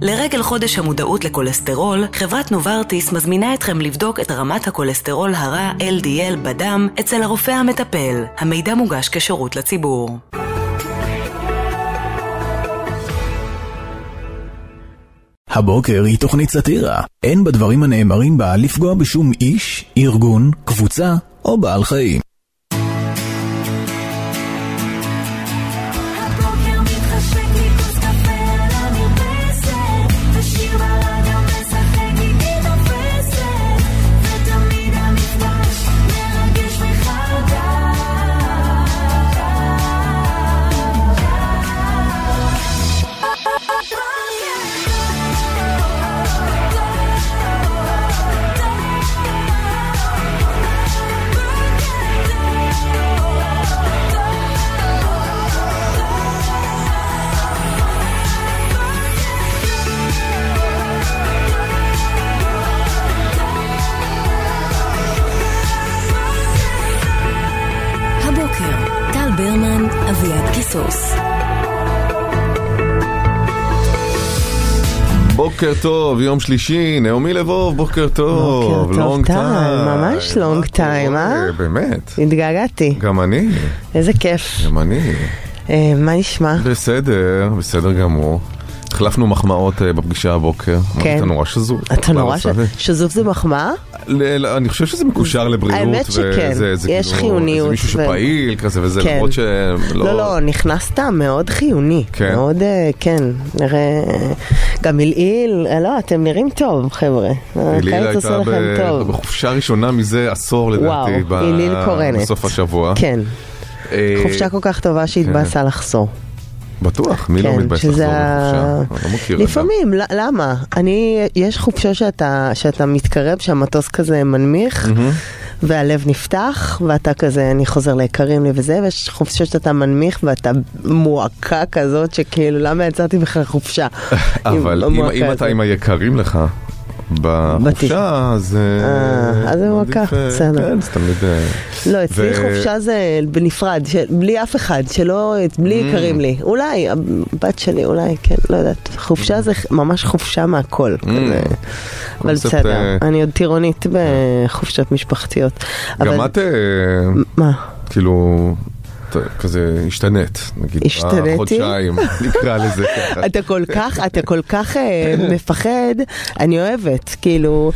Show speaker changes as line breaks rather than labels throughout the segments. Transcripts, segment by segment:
לרגל חודש המודעות לכולסטרול, חברת נוברטיס מזמינה אתכם לבדוק את רמת הכולסטרול הרע LDL בדם אצל הרופא המטפל. המידע מוגש כשירות לציבור.
הבוקר היא תוכנית סאטירה. אין בדברים הנאמרים בה לפגוע בשום איש, ארגון, קבוצה או בעל חיים.
הבוקר מתחשק לי כוס קפה על המרפסת, ושיר ברדיו משחק איתי תופסת, ותמיד המפגש מרגש
הבוקר, טל ברמן, אביעד קיסוס.
בוקר טוב, יום שלישי, נעמי לבוב, בוקר טוב,
בוקר טוב,
long
טל,
time.
ממש long time, אה?
באמת,
התגעגעתי,
גם אני,
איזה כיף.
גם אני.
אה, מה נשמע?
בסדר, בסדר גמור. החלפנו מחמאות אה, בפגישה הבוקר. אמרתי, אתה נורא שזור.
כן. אתה נורא ש...
למה זה?
שזוף זה מחמאה?
ל- ל- אני חושב שזה מקושר לבריאות.
האמת שכן,
וזה- זה
יש
כאילו-
חיוניות
זה מישהו
ו-
שפעיל כזה וזה,
כן.
למרות שלא...
לא, לא, נכנסת מאוד חיוני.
כן.
מאוד, אה, כן, נראה... גם עילעיל, אה, לא, אתם נראים טוב, חבר'ה. אה,
אלילה
הקיץ עושה
הייתה
לכם
ב-
טוב.
בחופשה ראשונה מזה עשור
וואו,
לדעתי. ב-
אליל קורנת.
בסוף השבוע.
כן,
אה, כן.
חופשה כל כך טובה שהתבאסה לחזור.
בטוח, מי לא
כן,
מתבייש לחזור
שזה ה-
בחופשה? אני לא מכיר אדם.
לפעמים, ל- למה? אני, יש חופשה שאתה, שאתה מתקרב, שהמטוס כזה מנמיך, והלב נפתח, ואתה כזה, אני חוזר ליקרים לי וזה, ויש חופשה שאתה מנמיך, ואתה מועקה כזאת, שכאילו, למה יצאתי בכלל לא חופשה?
אבל
עם
אם-
המועקה
אם אתה
הזאת.
עם היקרים לך בחופשה, אז... אה,
אז זה
עדיף,
מכה,
אה,
בסדר.
כן, זה תמיד... אה,
לא, אצלי
ו-
חופשה זה בנפרד, של- בלי אף אחד, שלא, בלי
Mm.
יקרים לי. אולי, הבת שלי, אולי, כן, לא יודעת. חופשה זה ממש חופשה מהכל. כזה. אבל
קונספט,
בסדר,
Mm. אה,
אני עוד טירונית בחופשות משפחתיות.
גם
אבל-
את, אה,
מה?
כאילו, ת- כזה השתנית, נגיד.
השתניתי?
החודשיים, נקרא לזה ככה.
אתה כל כך, אתה כל כך אה, מפחד, אני אוהבת, כאילו,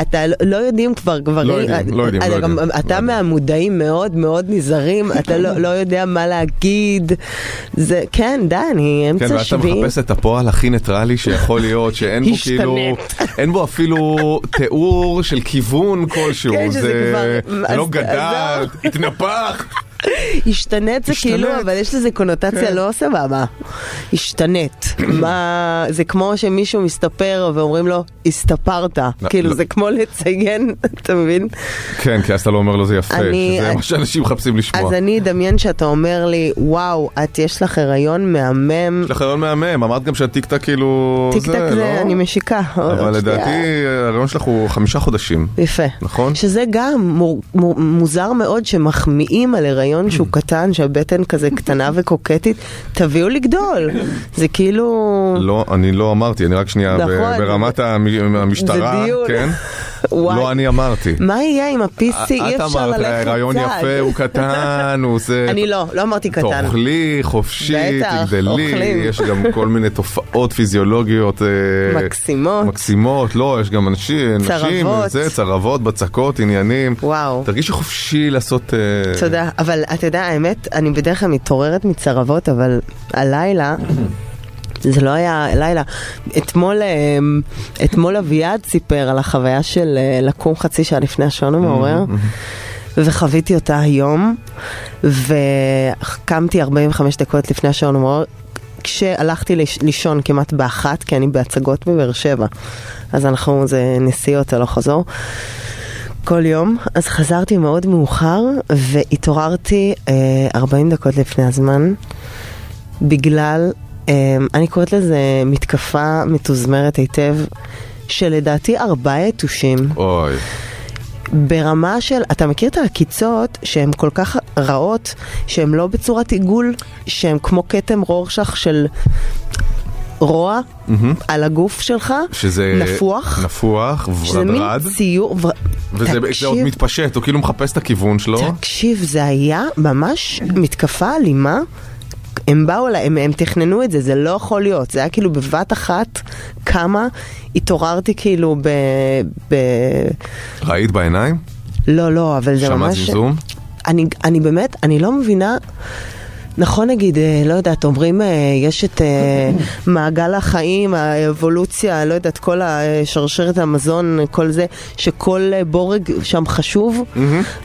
אתה לא- לא יודעים כבר, כבר,
לא יודעים, לא יודעים,
אתה
לא
גם-
יודעים.
אתה מהמודעים מאוד מאוד נזהרים, אתה לא לא יודע מה להגיד, זה, כן, די, אני
כן,
אמצע
ואז אתה
שביעי.
מחפש את הפועל הכי ניטרלי שיכול להיות, שאין בו כאילו, אין בו אפילו תיאור של כיוון כלשהו.
כן, שזה
זה-
כבר-
זה לא
אז- לא-
גדל,
אז
התנפח.
השתנית זה
השתנית. כן.
כאילו, אבל יש לזה קונוטציה לא סבבה. השתנית. מה, זה כמו שמישהו מסתפר ואומרים לו, הסתפרת.
לא,
כאילו,
לא.
זה כמו לציין, אתה מבין?
כן, כי אז אתה לא אומר לו זה יפה,
אני-
שזה מה שאנשים מחפשים לשמוע.
אז אני אדמיין שאתה אומר לי, וואו, את יש לך הריון מהמם.
יש לך רעיון מהמם, אמרת גם שהטיקטק כאילו...
טיק טק
לא?
זה, אני משיקה.
אבל
עוד שנייה.
לדעתי הרעיון שלך הוא חמישה חודשים,
יפה.
נכון?
שזה גם מור, מור, מוזר מאוד שמחמיאים על הריון שהוא קטן, שהבטן כזה קטנה וקוקטית, תביאו לגדול. זה כאילו...
לא, אני לא אמרתי, אני רק שנייה ב-
נכון.
ברמת המ- המשטרה,
זה דיון.
כן?
וואי.
לא אני אמרתי.
מה יהיה עם ה-PC? אי
את
אפשר
אמרת,
ללכת
רעיון
לצד.
יפה, הוא קטן, הוא זה...
אני לא, לא אמרתי קטן.
תאכלי, חופשי,
בטח,
תגדלי,
אוכלים.
יש גם כל מיני תופעות פיזיולוגיות. אה,
מקסימות.
מקסימות, לא, יש גם אנשים, נשים,
צרבות.
זה, צרבות, בצקות, עניינים.
וואו.
תרגישי חופשי לעשות... אה,
תודה, אבל אתה יודע, האמת, אני בדרך כלל מתעוררת מצרבות, אבל הלילה... זה לא היה לילה. אתמול, אמ, אתמול אביעד סיפר על החוויה של אה, לקום חצי שעה לפני השעון המעורר, וחוויתי אותה היום, וקמתי 45 דקות לפני השעון המעורר, כשהלכתי לש- לישון כמעט באחת, כי אני בהצגות בבאר שבע. אז אנחנו, זה נסיעות הלוך חזור. כל יום, אז חזרתי מאוד מאוחר והתעוררתי אה, 40 דקות לפני הזמן בגלל, אה, אני קוראת לזה מתקפה מתוזמרת היטב שלדעתי ארבעה יתושים
אוי,
ברמה של, אתה מכיר את העקיצות שהן כל כך רעות שהן לא בצורת עיגול, שהן כמו כתם רורשך של רוע על הגוף שלך,
שזה...
נפוח,
נפוח,
שזה מין
ורדרד.
ציור, ו-
וזה זה עוד לא? מתפשט, הוא כאילו מחפש את הכיוון שלו.
תקשיב, זה היה ממש מתקפה אלימה. הם באו אליי, הם, הם תכננו את זה, זה לא יכול להיות. זה היה כאילו בבת אחת כמה התעוררתי כאילו ב... ב...
ראית בעיניים?
לא, לא, אבל זה
שמעת
ממש...
זמזום?
אני, אני באמת, אני לא מבינה. נכון נגיד, אה, לא יודעת, אומרים אה, יש את אה, מעגל החיים, האבולוציה, לא יודעת, כל השרשרת המזון, כל זה, שכל אה, בורג שם חשוב,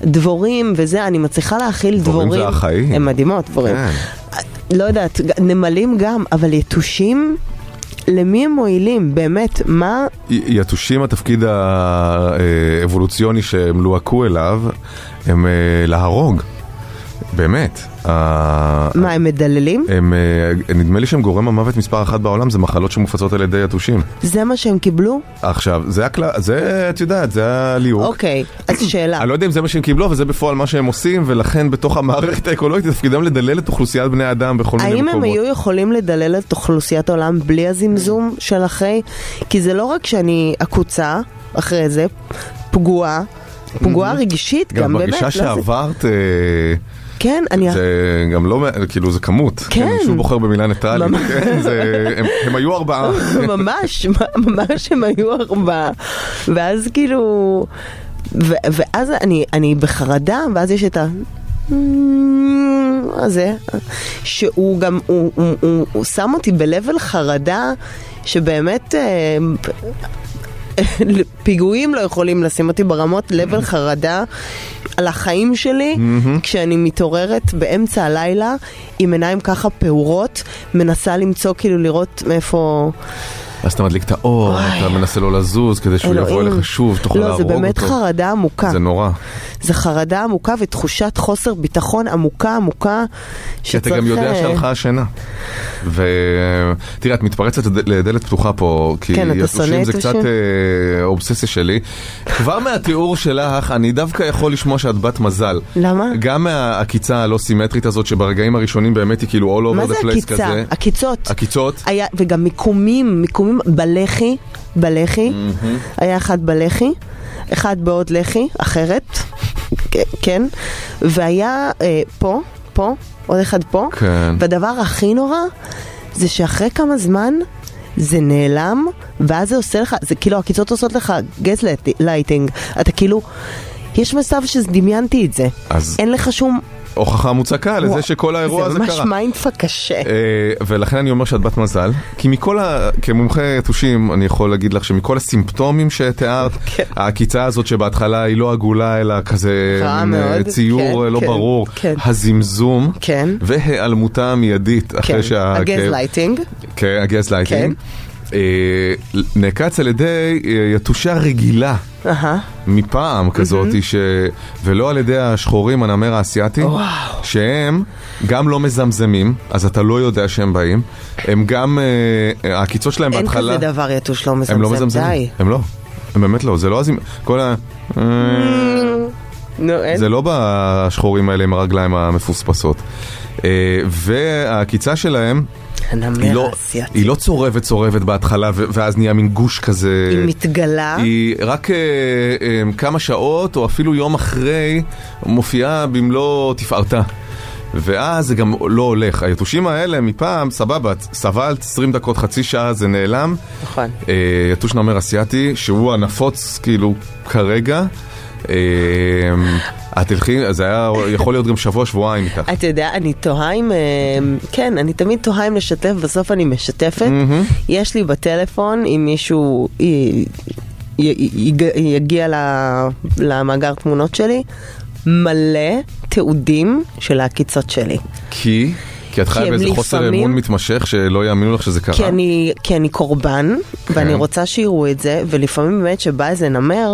דבורים וזה, אני מצליחה להכיל
דבורים
דבורים.
זה החיים.
הן מדהימות, דבורים.
כן.
לא יודעת, ג- נמלים גם, אבל יתושים, למי הם מועילים? באמת, מה...
י- יתושים התפקיד האבולוציוני שהם לוהקו אליו, הם אה, להרוג. באמת. ה-
מה, הם מדללים?
הם, אה, נדמה לי שהם גורם המוות מספר אחת בעולם, זה מחלות שמופצות על ידי יתושים.
זה מה שהם קיבלו?
עכשיו, זה הכלל, זה, את יודעת, זה הליהוק.
אוקיי, אז שאלה.
אני לא יודע אם זה מה שהם קיבלו, אבל זה בפועל מה שהם עושים, ולכן בתוך המערכת האקולוגית תפקידם לדלל את אוכלוסיית בני האדם בכל מיני
האם
מקומות.
הם היו יכולים לדלל את אוכלוסיית העולם בלי הזמזום של אחרי? כי זה לא רק שאני עקוצה אחרי זה, פגועה, פגועה רגשית גם,
Mhm. גם
באמת.
בגישה
לא זה-
שעברת, אה,
כן, אני...
זה גם לא, מע- כאילו זה כמות.
כן.
אני שוב בוחר במילה ניטרלית.
ממש.
כן, זה- הם- הם היו ארבעה.
ממש, ממש הם היו ארבעה. ואז כאילו... ו- ואז אני, אני בחרדה, ואז יש את ה... Mm, הזה, שהוא גם, הוא, הוא, הוא, הוא שם אותי ב-level חרדה שבאמת אה, פיגועים לא יכולים לשים אותי ברמות level חרדה על החיים שלי, כשאני מתעוררת באמצע הלילה עם עיניים ככה פעורות, מנסה למצוא כאילו לראות מאיפה...
אז אתה מדליק את האור,
אוי.
אתה מנסה לא לזוז כדי שהוא יבוא
אלוהים.
אליך שוב, תוכל
לא,
להרוג
זה
אותו.
באמת חרדה עמוקה.
זה נורא.
זה חרדה עמוקה ותחושת חוסר ביטחון עמוקה עמוקה.
כי אתה גם יודע
אה,
שהלכה השינה. ותראה, את מתפרצת לד- לדלת פתוחה פה, כי
כן, אתה שונא
יתושים זה
יתושים?
קצת אה, אובססיה שלי. כבר מהתיאור שלך, אני דווקא יכול לשמוע שאת בת מזל.
למה?
גם מהעקיצה הלא סימטרית הזאת, שברגעים הראשונים באמת היא כאילו all
מה
over
זה
the place
עקיצה?
כזה.
עקיצות.
עקיצות?
היה, וגם מיקומים, מיקומים בלח"י, בלח"י, היה אחד בלח"י, אחד בעוד לח"י, אחרת, כ- כן, והיה אה, פה, פה, עוד אחד פה,
כן.
והדבר הכי נורא זה שאחרי כמה זמן זה נעלם, ואז זה עושה לך, זה כאילו הקיצות עושות לך גז לייטינג, אתה כאילו, יש מצב שדמיינתי את זה,
אז
אין לך שום,
הוכחה מוצקה לזה
וואו,
שכל האירוע הזה
זה ממש
קרה.
מיינדפאק קשה.
אה, ולכן אני אומר שאת בת מזל, כי מכל ה... כמומחה יתושים, אני יכול להגיד לך שמכל הסימפטומים שתיארת,
כן.
העקיצה הזאת שבהתחלה היא לא עגולה, אלא כזה
רע
מין, אה,
מאוד,
ציור
כן,
אה, לא
כן,
ברור,
כן.
הזמזום,
כן.
והיעלמותה המיידית,
כן,
אחרי שה...
הגז לייטינג. כן.
כן, הגז לייטינג. אה, נעקץ על ידי אה, יתושה רגילה
אהה.
מפעם כזאת, ש... ולא על ידי השחורים, הנמר האסייתי, שהם גם לא מזמזמים, אז אתה לא יודע שהם באים, הם גם, אה, העקיצות שלהם
אין
בהתחלה,
כזה דבר יתוש לא
הם לא
מזמזם, די.
מזמזמים, הם לא, הם באמת לא, זה לא, הזימ- כל ה...
Mm,
אה,
נו, אין.
זה לא בשחורים האלה עם הרגליים המפוספסות. אה, והעקיצה שלהם, היא
הנמר
לא,
האסייתי.
היא לא צורבת צורבת בהתחלה ו- ואז נהיה מין גוש כזה.
היא מתגלה.
היא רק אה, אה, כמה שעות או אפילו יום אחרי מופיעה במלוא תפארתה. ואז זה גם לא הולך. היתושים האלה מפעם, סבבה, סבלת 20 דקות, חצי שעה, זה נעלם.
נכון.
אה, יתוש נמר אסיאתי, שהוא הנפוץ כאילו כרגע. אה, את תלכי, זה היה יכול להיות גם שבוע, שבועיים איתך.
אתה יודע, אני תוהה אם... אה, כן, אני תמיד תוהה אם לשתף, בסוף אני משתפת. יש לי בטלפון, אם מישהו י- י- י- יגיע ל- למאגר תמונות שלי, מלא תיעודים של העקיצות שלי.
כי? כי את חיה
הם
באיזה חוסר
לפעמים-
אמון מתמשך שלא יאמינו לך שזה קרה.
כי אני, כי אני קורבן, כן. ואני
כן.
רוצה שיראו את זה, ולפעמים באמת שבא איזה נמר,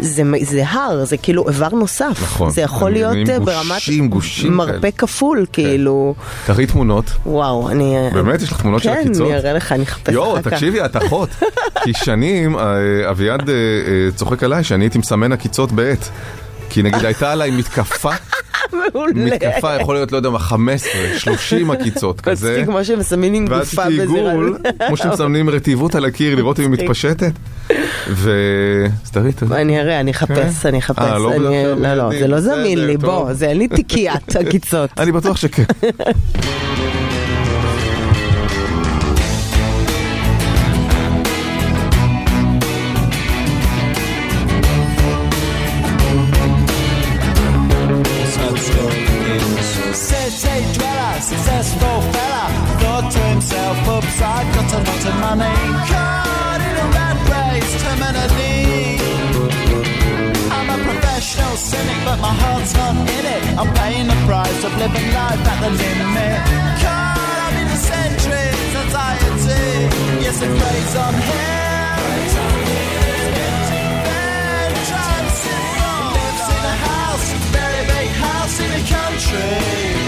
זה, מ- זה הר, זה כאילו איבר נוסף.
נכון.
זה יכול
אני-
להיות
אני
אה,
עם
ברמת
גושים, גושים
מרפא
כאלה.
כפול, כאילו,
תראי תמונות.
וואו, אני...
באמת? יש לך תמונות של
כן,
עקיצות?
אני אראה לך, אני אחפש
יואו,
אחר כך.
תקשיבי, את אחות. כי שנים אה, אביעד אה, אה, צוחק עליי שאני הייתי מסמן עקיצות בעט. כי נגיד הייתה עליי מתקפה
מעולה.
מתקפה יכול להיות, לא יודע מה, 15, 30 עקיצות כזה.
מצחיק, כמו שמסמנים עם
ואז
גופה
תעשי
בזירה.
עיגול, כמו שמסמנים רטיבות על הקיר, לראות אם היא
מצחיק.
מתפשטת. ו... אז תראי, תראי.
אני אראה, אני אחפש,
כן?
אני אחפש.
אה, לא
אני-
בדרך כלל
לא, לא, זה
מיידים.
לא זמין
בסדר,
לי,
טוב.
בוא, זה אין לי תיקיית עקיצות.
אני בטוח שכן.
City dweller, successful fella, thought to himself, oops, I've got a lot of money. Caught in a rat race, terminally. I'm a professional cynic, but my heart's not in it. I'm paying the price of living life at the limit. Caught up in the centuries, anxiety. Yes, it plays on here. It's getting bad, drives it wrong. Lives in a house, very big house in the country.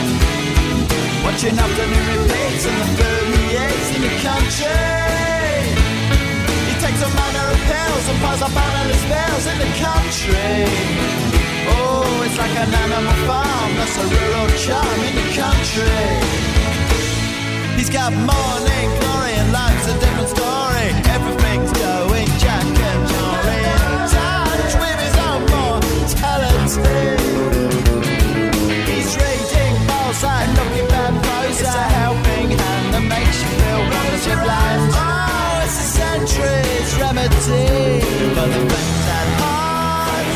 Watching afternoon repeats and the permeates in the country. He takes a manner of pills and piles up analyst bills in the country. Oh, it's like an animal farm, that's a rural charm in the country. He's got morning glory and life's a different story. Everything's going jack and Jory. In touch with his own mortality. He's reading balls and looking bad blows. It's a helping hand that makes you feel relative blind. Oh, it's a century's remedy for the things that hurt.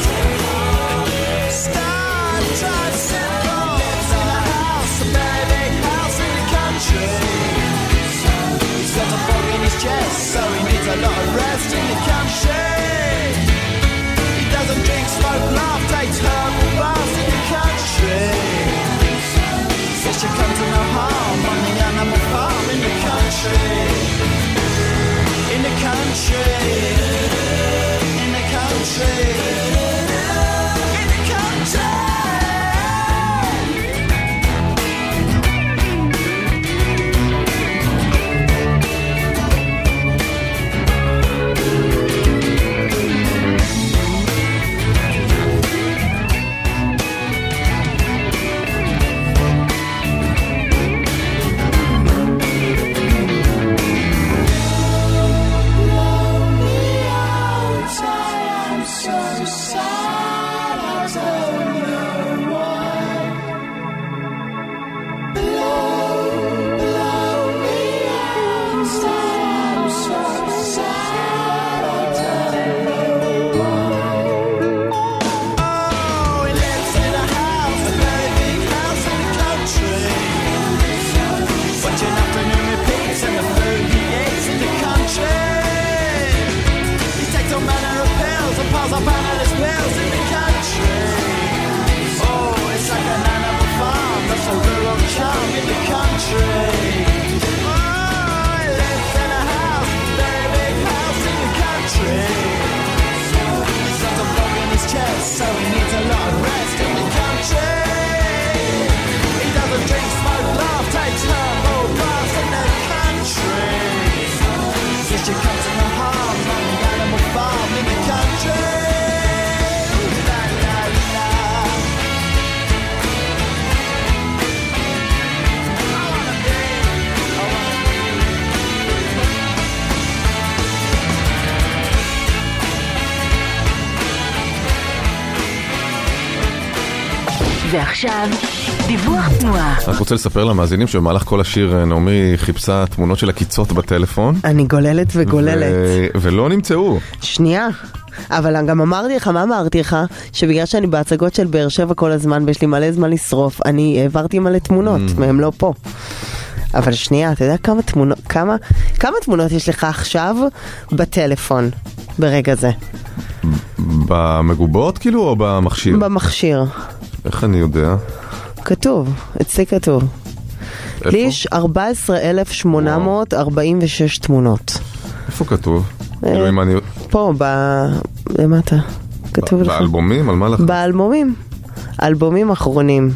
Star drives it all. Lives in a house, a very big house in the country. He's got a frog in his chest, so he needs a lot of rest in the country. He doesn't drink, smoke, laugh, takes herb baths in the country. Says she comes to no harm on the animal farm in the country. In the country. In the country. In the country. I'm so sad as only one. Blow, blow me outside. I'm so sad as only one. Oh, he lives in a house, a very big house in the country. Watching afternoon repeats and the food he eats in the country. He takes all manner of pills and piles up analyst bills in the country. Oh, it's like an animal farm, that's a rural charm in the country. Oh, he lives in a house, very big house in the country. He's got a bug in his chest, so he needs a lot of rest in the country. He doesn't drink, smoke, laugh, takes herbal baths in the country. Since you come to my heart, from the animal farm in the country. La, la, la. I wanna be, I wanna be.
ועכשיו, דיווח תנועה.
רק רוצה לספר למאזינים שבמהלך כל השיר אה, נעמי חיפשה תמונות של עקיצות בטלפון.
אני גוללת וגוללת.
ו- ולא נמצאו.
שנייה. אבל גם אמרתי לך, מה אמרתי לך? שבגלל שאני בהצגות של באר שבע כל הזמן ויש לי מלא זמן לשרוף, אני העברתי מלא תמונות, והם לא פה. אבל שנייה, אתה יודע כמה תמונות, כמה, כמה תמונות יש לך עכשיו בטלפון, ברגע זה,
במגובות כאילו או במכשיר?
במכשיר?
איך אני יודע?
כתוב, אצלי כתוב. לי יש 14,846 תמונות.
איפה כתוב?
אה,
כאילו אם אני...
פה, ב... למטה. כתוב לך.
באלבומים? על מה לך?
באלבומים. אלבומים אחרונים.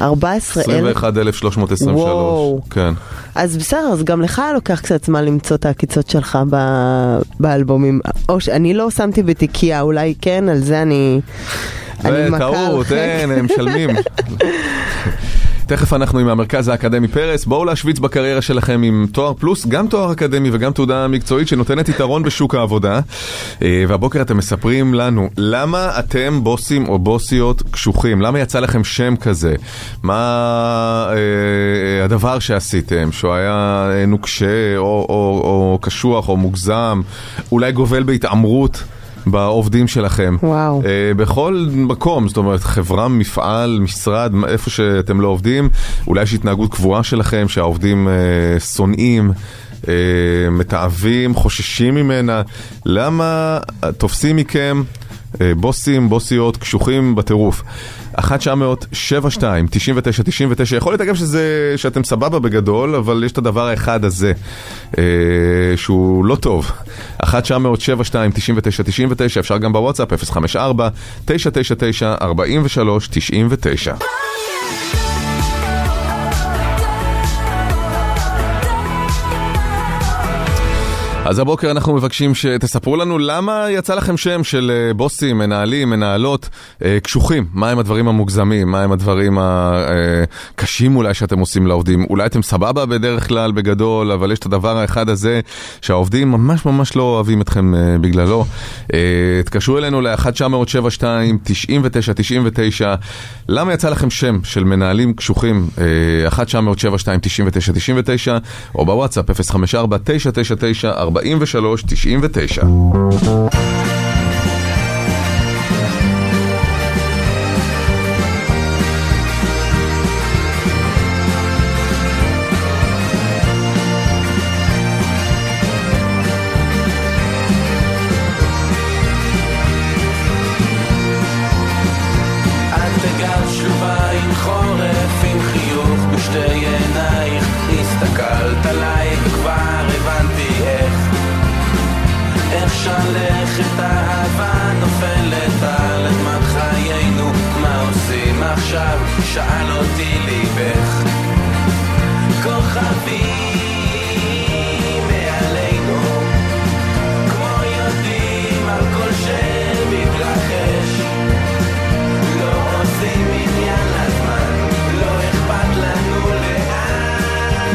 14,000.
21,323.
וואו.
כן.
אז בסדר, אז גם לך לוקח קצת זמן למצוא את העקיצות שלך ב- באלבומים. או שאני לא שמתי בתיקייה, אולי כן, על זה אני... אני
זה
מכה
טעות,
על
אין, הם משלמים. תכף אנחנו עם המרכז האקדמי פרס, בואו להשוויץ בקריירה שלכם עם תואר פלוס, גם תואר אקדמי וגם תעודה מקצועית שנותנת יתרון בשוק העבודה. אה, והבוקר אתם מספרים לנו, למה אתם בוסים או בוסיות קשוחים? למה יצא לכם שם כזה? מה אה, הדבר שעשיתם, שהוא היה אה, נוקשה או, או, או קשוח או מוגזם, אולי גובל בהתעמרות בעובדים שלכם?
וואו.
אה, בכל מקום, זאת אומרת, חברה, מפעל, משרד, מ- איפה שאתם לא עובדים, אולי יש התנהגות קבועה שלכם שהעובדים אה, שונאים, אה, מתעבים, חוששים ממנה. למה תופסים מכם אה, בוסים, בוסיות, קשוחים בטירוף? 1 900 72 99 99 יכול להיות אגב שזה, שאתם סבבה בגדול, אבל יש את הדבר האחד הזה, אה, שהוא לא טוב. 1 900 72 99 99 אפשר גם בוואטסאפ, 054 999 43 99 אז הבוקר אנחנו מבקשים שתספרו לנו למה יצא לכם שם של אה, בוסים, מנהלים, מנהלות, אה, קשוחים. מהם הדברים המוגזמים, מהם הדברים הקשים אולי שאתם עושים לעובדים. אולי אתם סבבה בדרך כלל בגדול, אבל יש את הדבר האחד הזה שהעובדים ממש ממש לא אוהבים אתכם אה, בגללו. אה, תתקשרו אלינו ל-1972-9999. למה יצא לכם שם של מנהלים קשוחים? אה, 1-900-72-99-99 או בוואטסאפ 054-999-4399.
את בגל שלווה עם חורף, עם חיוך בשתי עינייך. הסתכלת עליי וכבר הבנתי איך. איך שלכת אהבה נופלת על אדמת חיינו. מה עושים עכשיו? שאל אותי ליבך. כוכבים מעלינו, כמו יודעים על כל שמתרחש. לא עושים עניין לזמן, לא אכפת לנו לאן.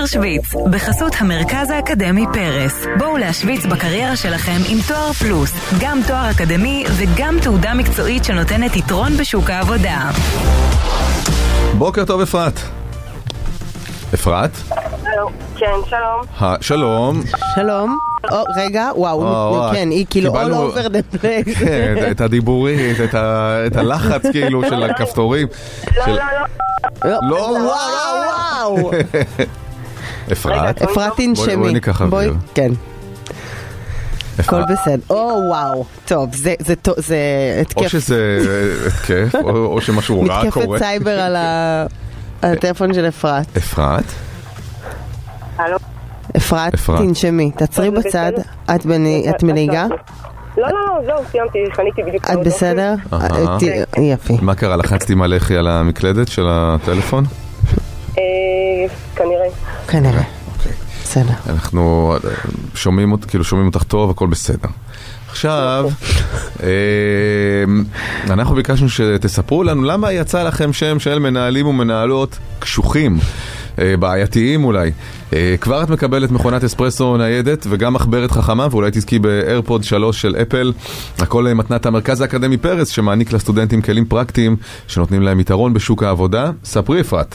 להשוויץ, בחסות המרכז האקדמי פרס. בואו להשוויץ בקריירה שלכם עם תואר פלוס, גם תואר אקדמי וגם תעודה מקצועית שנותנת יתרון בשוק העבודה.
בוקר טוב, אפרת. אפרת?
כן, שלום.
ה- שלום.
שלום. או, רגע, וואו,
וואו, וואו.
כן, היא כאילו all
אה, קיבלנו-
over the place.
כן, את הדיבורית, את ה- את הלחץ כאילו של הכפתורים.
לא,
של-
לא, לא.
לא,
וואו, וואו.
אפרת?
רגע,
אפרת
בואי-
תנשמי.
בואי ניקח
בואי-
אוויר.
כן, הכל
אפרת.
בסדר. או, וואו. טוב, זה- זה טו- זה
או
התקף.
שזה התקף, או או שמשהו רע
מתקפת
קורה.
סייבר על ה- על הטלפון של אפרת.
אפרת?
הלו?
אפרת,
אפרת.
תנשמי, תעצרי
זה
בצד.
בסדר?
את בני- את מנהיגה?
לא, לא, לא, זהו, סיימתי, חניתי בדיוק.
את
מאוד
בסדר? אה,
אהה.
ת- יפי.
מה קרה? לחצתי עם הלחי על המקלדת של הטלפון?
אופי. אה, כנראה.
כנראה. בסדר.
אוקיי. אנחנו אה, שומעים, אות- כאילו שומעים אותך טוב, הכל בסדר. עכשיו, אה, אנחנו ביקשנו שתספרו לנו למה יצא לכם שם של מנהלים ומנהלות קשוחים, אה, בעייתיים אולי. אה, כבר את מקבלת מכונת אספרסו ניידת וגם מחברת חכמה, ואולי תזכי באיירפוד 3 של אפל. הכל אה, מתנת המרכז האקדמי פרס, שמעניק לסטודנטים כלים פרקטיים שנותנים להם יתרון בשוק העבודה. ספרי אפרת.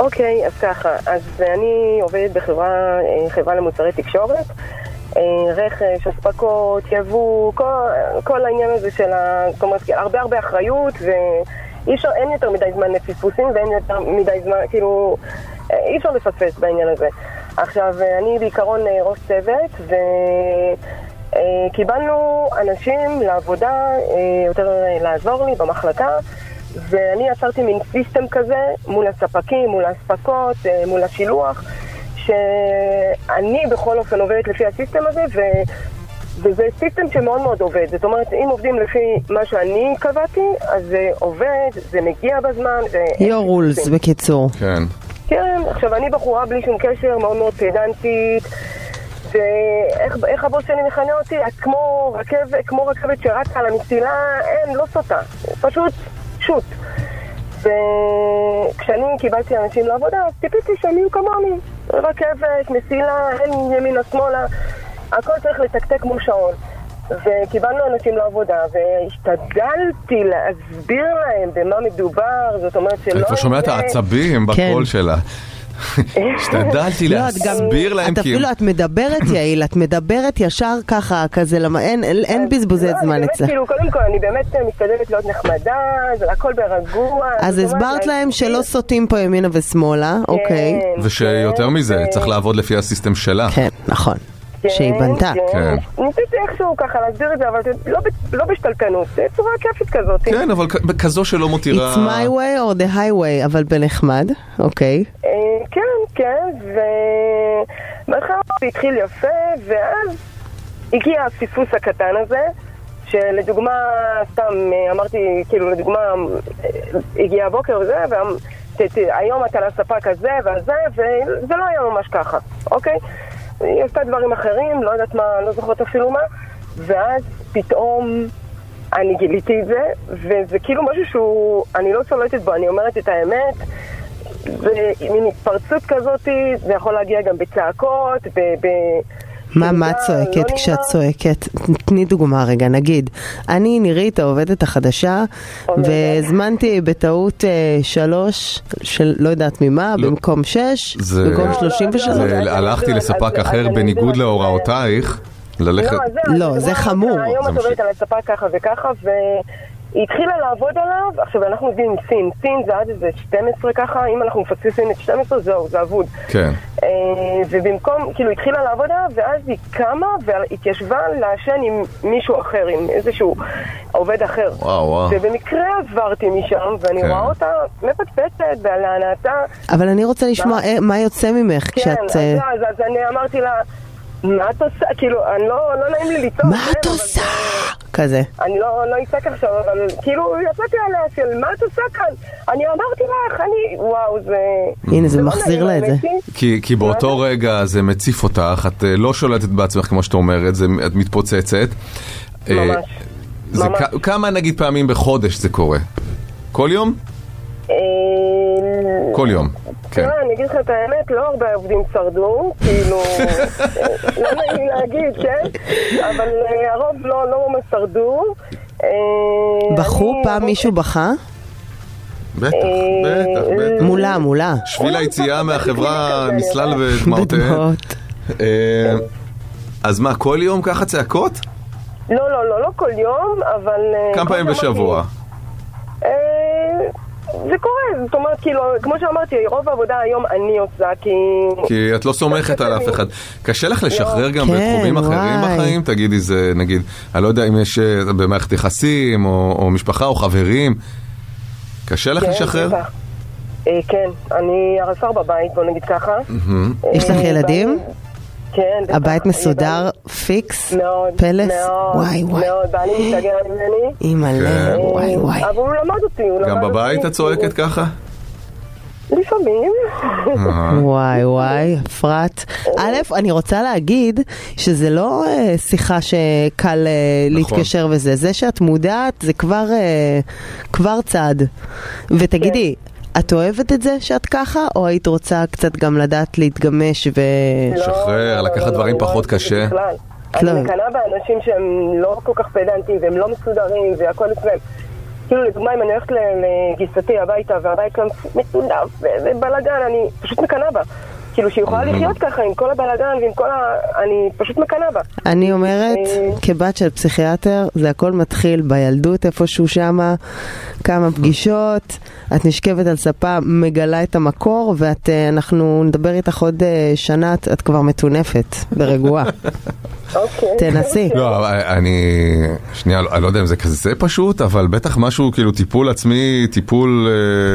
אוקיי, אז ככה, אז אני עובדת בחברה אה, חברה למוצרי תקשורת, אה, רכש, אספקות, יבוא, כל, כל העניין הזה של ה... כלומר, הרבה הרבה אחריות, ואי אפשר, אין יותר מדי זמן לפספוסים ואין יותר מדי זמן, כאילו, אה, אי אפשר לפספס בעניין הזה. עכשיו, אה, אני בעיקרון אה, ראש צוות, ו... אה, קיבלנו אנשים לעבודה, אה, יותר אה, לעזור לי במחלקה, ואני יצרתי מין סיסטם כזה מול הספקים, מול האספקות, אה, מול השילוח, שאני בכל אופן עובדת לפי הסיסטם הזה, ו... וזה סיסטם שמאוד מאוד עובד. זאת אומרת, אם עובדים לפי מה שאני קבעתי, אז זה עובד, זה מגיע בזמן. זה...
your rules בקיצור.
כן.
כן, עכשיו אני בחורה בלי שום קשר, מאוד מאוד פדנטית. ואיך איך הבוס שלי מכנה אותי? את כמו רכבת, כמו רכבת שרצה על המסילה, אין, לא סוטה. פשוט שוט. וכשאני קיבלתי אנשים לעבודה, אז ציפיתי שהם יהיו כמוני. רכבת, מסילה, אין ימינה שמאלה. הכל צריך לתקתק כמו שעון. וקיבלנו אנשים לעבודה, והשתדלתי להסביר להם במה מדובר, זאת אומרת שלא...
אני כבר שומע את
לא יהיה- כן,
העצבים
כן.
בקול שלה. השתדלתי
לא, את גם-
להסביר להם
את
כי...
אפילו, את מדברת יעיל, את מדברת ישר ככה, כזה, למה אין- אין- אין בזבוזי
לא, אני
זמן
באמת,
אצלך.
כאילו, קודם כל, אני באמת אה, משתדלת להיות נחמדה, זה הכל ברגוע.
אז
זאת אומרת,
הסברת להם
אני- כאילו-
שלא סוטים פה ימינה ושמאלה,
כן,
אוקיי.
ושיותר
כן,
מזה,
אה,
צריך לעבוד לפי הסיסטם שלה.
כן, נכון.
כן,
שהיא בנתה.
כן.
כן.
ניסיתי איכשהו ככה להסביר את זה, אבל זה לא ב- לא בשתלטנות, זה צורה כיפית כזאת.
כן, אבל כ- כזו שלא מותירה...
It's my way or the highway, אבל בנחמד, אוקיי.
אה, כן, כן, ובהתחלה זה התחיל יפה, ואז הגיע הפספוס הקטן הזה, שלדוגמה, סתם אה, אמרתי, כאילו לדוגמה, אה, הגיע הבוקר וזה, והיום אתה לספק הזה והזה, וזה לא היה ממש ככה, אוקיי? היא עשתה דברים אחרים, לא יודעת מה, לא זוכרת אפילו מה, ואז פתאום אני גיליתי את זה, וזה כאילו משהו שהוא, אני לא שולטת בו, אני אומרת את האמת, ומין התפרצות כזאת, זה יכול להגיע גם בצעקות, ב... ב
מה, מה את
לא
צועקת
נעימה.
כשאת צועקת? תני דוגמה רגע, נגיד, אני נירית העובדת החדשה,
עובדת.
והזמנתי בטעות אה, שלוש, של לא יודעת ממה,
לא.
במקום שש,
זה-
במקום
לא, לא,
שלושים
לא,
ושלוש.
זה-
אז אני
הלכתי
אסביר,
לספק
אז- אז
אחר
אני
בניגוד
אסביר.
להוראותייך,
לא,
ללכת...
זהו,
לא,
אני
זה
כבר-
חמור.
היום
זה
את עובדת
ממשיך.
על הספה ככה וככה, והיא התחילה לעבוד עליו, עכשיו אנחנו עובדים עם סין, סין זה עד איזה 12 ככה, אם אנחנו מפספסים את 12 זהו, זה אבוד.
כן.
אה, ובמקום, כאילו התחילה לעבוד עליו, ואז היא קמה והתיישבה לעשן עם מישהו אחר, עם איזשהו עובד אחר.
וואו, וואו.
ובמקרה עברתי משם, ואני
כן.
רואה אותה מפטפטת ועל הענתה.
אבל אני רוצה לשמוע
מה?
אה, מה יוצא ממך
לא. כן,
כשאת...
אז,
אה,
אז, אז אני אמרתי לה, מה את עושה? כאילו, אני לא, לא נעים לי לצעוק.
מה
כן,
את
אבל
עושה? כזה.
אני לא, לא אצעק עכשיו, אבל כאילו, יצאתי עליה של מה את עושה כאן? אני אמרתי לך, אני, וואו, זה...
הנה, זה
לא
מחזיר
נעים,
לה את זה.
האמת היא.
כי, כי באותו
לא.
רגע זה מציף אותך, את אה, לא שולטת בעצמך כמו שאת אומרת, זה, את מתפוצצת. אה,
ממש.
זה
ממש.
כ- כמה נגיד
כן.
פעמים בחודש זה קורה? כל יום?
אה,
כל יום. כן.
תראה, אני אגיד לך את האמת, לא הרבה עובדים שרדו, כאילו, אה, לא נעים להגיד, כן? אבל אה, הרוב לא לא ממש שרדו. אה,
בכו?
אני- אה,
פעם מישהו בכה?
בטח, בטח, בטח.
מולה, מולה.
שביל היציאה מהחברה
אני
נסלל בדמעותיהם.
בדמעות.
אה, אז מה, כל יום ככה צעקות?
לא, לא, לא, לא כל יום, אבל... אה,
כמה
כמו
פעמים
שאמרתי,
בשבוע?
אה, זה קורה, זאת אומרת, כאילו, כמו שאמרתי, רוב העבודה היום אני עושה, כי...
כי את לא סומכת על אף אחד. קשה לך לשחרר גם
כן,
בתחומים אחרים
וואי.
בחיים? תגידי, זה נגיד, אני לא יודע אם יש אה, במערכת יחסים, או או משפחה, או חברים. קשה לך
כן,
לשחרר?
בטח. אה, כן, אני הרס"ר בבית, בוא נגיד ככה.
יש לך
אה,
ילדים?
כן. בטח.
הבית
אני
מסודר,
בעלי-
פיקס,
מאוד,
פלס?
מאוד,
וואי וואי.
מאוד, בעלי מתגר ממני.
כן.
אימא'לה, וואי וואי.
אבל הוא למד אותי, הוא למד
גם
אותי.
בבית את צועקת
כאילו
ככה?
לפעמים.
אה,
וואי וואי, אפרת. א', אני רוצה להגיד שזה לא אה, שיחה שקל אה,
נכון.
להתקשר וזה, זה שאת מודעת זה כבר, אה, כבר צעד. ותגידי,
כן.
את אוהבת את זה שאת ככה, או היית רוצה קצת גם לדעת להתגמש ו...
לא,
שחרר,
לא, לא,
לקחת
לא,
דברים
לא, לא
פחות
אוהבת את זה
קשה.
בכלל.
לא.
אני מקנאה באנשים שהם לא כל כך פדנטים והם לא מסודרים והכל אצלם. כאילו לדוגמה אם אני הולכת ל- לגיסתי הביתה והבית לא כאן מסודר ובלאגן, אני פשוט מקנאה בה. כאילו שהיא יכולה לחיות ככה עם כל הבלאגן ועם כל ה... אני פשוט מקנאה בה.
אני אומרת,
אה.
כבת של פסיכיאטר, זה הכל מתחיל בילדות איפשהו שמה, כמה פגישות, את נשכבת על ספה, מגלה את המקור, ואנחנו נדבר איתך עוד אה, שנה, את- את כבר מטונפת ורגועה.
אוקיי.
תנסי.
לא, אבל אני... שנייה, אני לא יודע אם זה כזה פשוט, אבל בטח משהו כאילו טיפול עצמי, טיפול...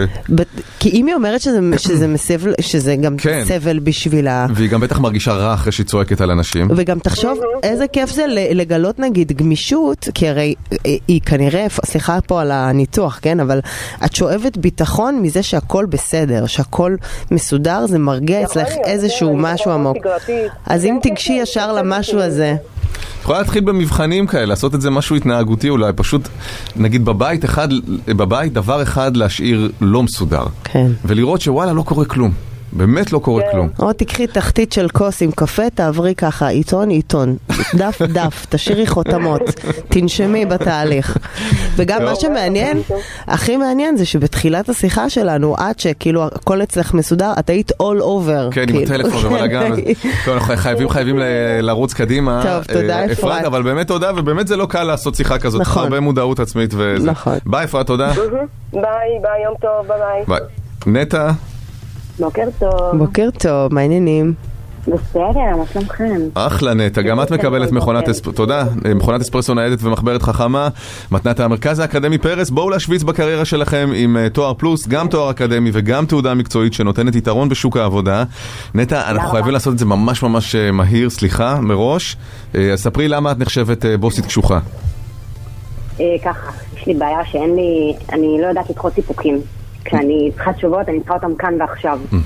אה,
בת- כי אם היא אומרת שזה, שזה, מסבל, שזה גם
כן.
סבל בשבילה,
והיא גם בטח מרגישה רע אחרי שהיא צועקת על אנשים.
וגם תחשוב איזה כיף זה ל- לגלות נגיד גמישות, כי הרי אה, היא כנראה, סליחה פה על הניתוח, כן? אבל את שואבת ביטחון מזה שהכל בסדר, שהכל מסודר, זה מרגיע
יכול
אצלך
להיות,
איזשהו
כן, אני
משהו
מאוד
עמוק.
שגרתית.
אז אם
כן, כן,
תיגשי
כן,
ישר
כן,
למשהו
כן.
הזה,
את יכולה להתחיל במבחנים כאלה, לעשות את זה משהו התנהגותי אולי, פשוט נגיד בבית אחד, בבית דבר אחד להשאיר לא מסודר.
כן.
ולראות שוואלה לא קורה כלום. באמת לא קורה
כן.
כלום.
או תקחי תחתית של כוס עם קפה, תעברי ככה, עיתון עיתון, דף דף, תשאירי חותמות, תנשמי בתהליך. וגם מה שמעניין, הכי מעניין זה שבתחילת השיחה שלנו, עד שכאילו הכל אצלך מסודר, את היית all over.
כן, עם
כאילו.
הטלפון ובלאגן. אז- טוב, אנחנו חייבים, חייבים ל- לרוץ קדימה.
טוב, תודה,
אה,
אפרת.
אבל באמת תודה, ובאמת זה לא קל לעשות שיחה כזאת.
נכון.
הרבה מודעות עצמית וזה.
נכון.
ביי, אפרת, תודה.
ביי, ביי, יום טוב, ביי ביי.
ביי. נטע,
בוקר טוב.
בוקר טוב, מה העניינים?
בסדר, מה שלומכם?
אחלה נטע, גם את מקבלת מכונת אספרסו, תודה, אה, מכונת אספרסו ניידת ומחברת חכמה, מתנת המרכז האקדמי פרס, בואו להשוויץ בקריירה שלכם עם אה, תואר פלוס, גם תואר אקדמי וגם תעודה מקצועית שנותנת יתרון בשוק העבודה. נטע, אנחנו חייבים לעשות את זה ממש ממש אה, מהיר, סליחה, מראש. אה, אז ספרי למה את נחשבת אה, בוסית קשוחה.
אה, ככה, יש לי בעיה שאין לי, אני לא יודעת לדחות סיפוקים. כשאני צריכה תשובות, אני צריכה אותם כאן ועכשיו. אה,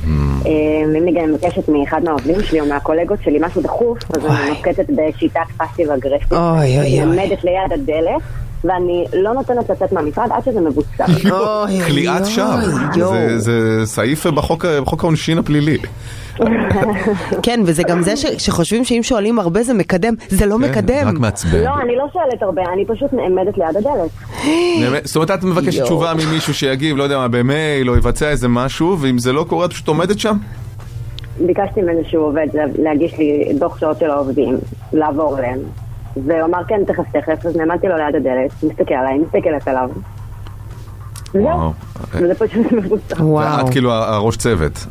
אם אני גם מבקשת מאחד מהעובדים שלי או מהקולגות שלי משהו דחוף, אז
וואי.
אני נוקטת בשיטת פאסיב אגרסיב.
אוי, אוי,
אני
אוי.
עומדת ליד הדלת, ואני לא נותנת לצאת מהמשרד עד שזה מבוצע.
אוי,
כליאת
אוי,
שווא,
יואו. אה.
זה- זה סעיף אה, בחוק ה- בחוק העונשין הפלילי.
כן, וזה גם זה ש- שחושבים שאם שואלים הרבה זה מקדם, זה לא
כן, רק
מקדם.
מעצבן.
לא, אני לא שואלת הרבה, אני פשוט נעמדת ליד הדלת.
באמת? זאת אומרת, את מבקשת
יואו.
תשובה ממישהו שיגיב, לא יודע מה, במייל, או יבצע איזה משהו, ואם זה לא קורה, את פשוט עומדת שם?
ביקשתי ממנו שהוא עובד לה- להגיש לי דוח שעות של העובדים, לעבור אליהם. והוא אמר כן, תכף תכף, אז נעמדתי לו ליד הדלת, מסתכל עליי, מסתכלת עליו.
וואו.
זהו, וזה לא פשוט מבוצע.
לא. וואו.
ואת כאילו הראש צוות.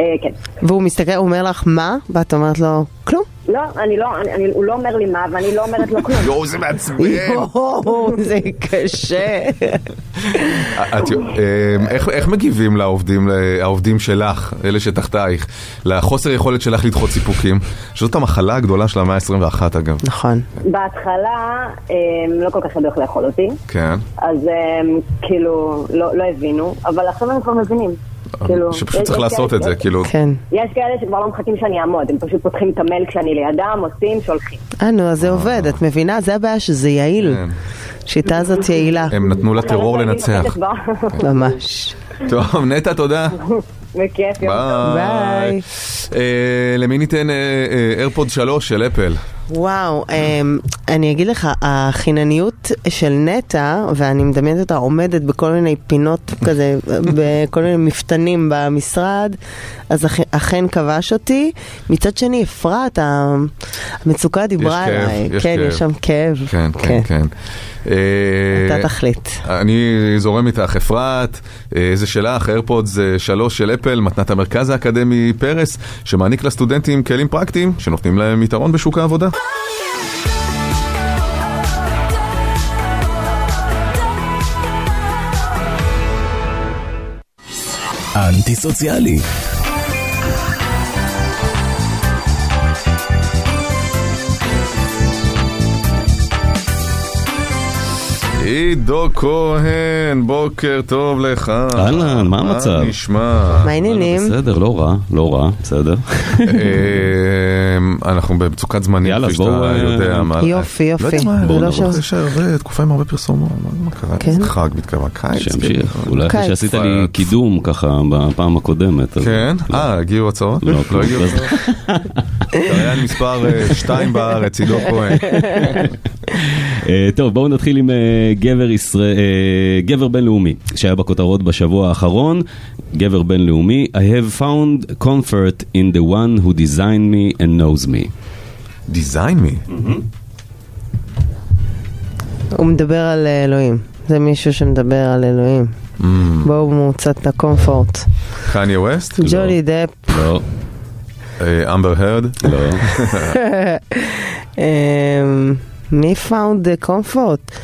אה, כן.
והוא מסתכל, הוא אומר לך מה? ואת אומרת לו, כלום.
לא, אני לא, אני- אני- הוא לא אומר לי מה, ואני לא אומרת לו כלום.
יואו, זה מעצבן.
יואו, זה קשה.
את- אה, איך- איך מגיבים לעובדים, העובדים שלך, אלה שתחתייך, לחוסר יכולת שלך לדחות סיפוקים? שזאת המחלה הגדולה של המאה ה-21 אגב.
נכון.
בהתחלה אה, לא כל כך ידעו איך לאכול אותי,
כן.
אז אה, כאילו לא לא הבינו, אבל עכשיו הם כבר מבינים. כאילו,
אה, שפשוט
יש-
צריך
יש
לעשות
כאלה-
את זה, כאילו.
כן.
יש כאלה שכבר לא מחכים שאני אעמוד, הם פשוט פותחים את המייל כשאני לידם, עושים, שולחים.
אה, נו, אז זה עובד, את מבינה? זה הבעיה שזה יעיל.
כן.
שיטה הזאת יעילה,
הם נתנו לטרור
אני
לנצח.
נוחתת ב-
ממש.
טוב, נטע, תודה.
בכיף, יום טוב.
ביי. אה, למי ניתן אה, אה, איירפוד 3 של אפל?
וואו, אמ, אני אגיד לך, החינניות של נטע, ואני מדמיינת אותה עומדת בכל מיני פינות כזה, בכל מיני מפתנים במשרד, אז אכן- אכן כבש אותי. מצד שני, אפרת, ה- המצוקה דיברה
יש כאב,
עליי.
יש
כן,
כאב.
יש שם כאב.
כן, כן, כן. אה,
אתה תחליט.
אני זורם איתך, אפרת, אה, זה שלך, איירפודס אה, שלוש של אפל, מתנת המרכז האקדמי פרס, שמעניק לסטודנטים כלים פרקטיים שנותנים להם יתרון בשוק העבודה.
אנטי-סוציאלי.
עידו כהן, בוקר טוב לך.
אהלן, מה המצב?
נשמע?
מה העניינים?
בסדר, לא רע, לא רע, בסדר.
אמ, אנחנו במצוקת זמנים,
יאללה,
כפי
אז
שאתה
בואו... אה,
יודע מה.
יופי,
לא יודע
יופי.
מה,
זה לא
אני
שם.
חושב שהרבה תקופה עם הרבה פרסומות, מה- מה קרה?
כן.
איזה חג מתקרב, כאילו. קיץ.
שימשיך, אולי אחרי
קיץ.
שעשית לי קידום ככה בפעם הקודמת. אז-
כן? אה, הגיעו הצעות?
לא,
לא
כלום.
הגיעו
אז-
הצעות. קריין מספר 2 בארץ, עידו כהן.
אה, טוב, בואו נתחיל עם אה, גבר ישראל, אה, גבר בינלאומי שהיה בכותרות בשבוע האחרון. גבר בינלאומי, I have found comfort in the one who designed me and knows me.
דיזיין מי?
הוא מדבר על אלוהים. זה מישהו שמדבר על אלוהים.
Mm.
בואו מוצאת הקומפורט.
קניה ווסט?
ג'ולי דפ.
לא,
אה, אמבר הרד?
לא.
אמ, מי found the comfort?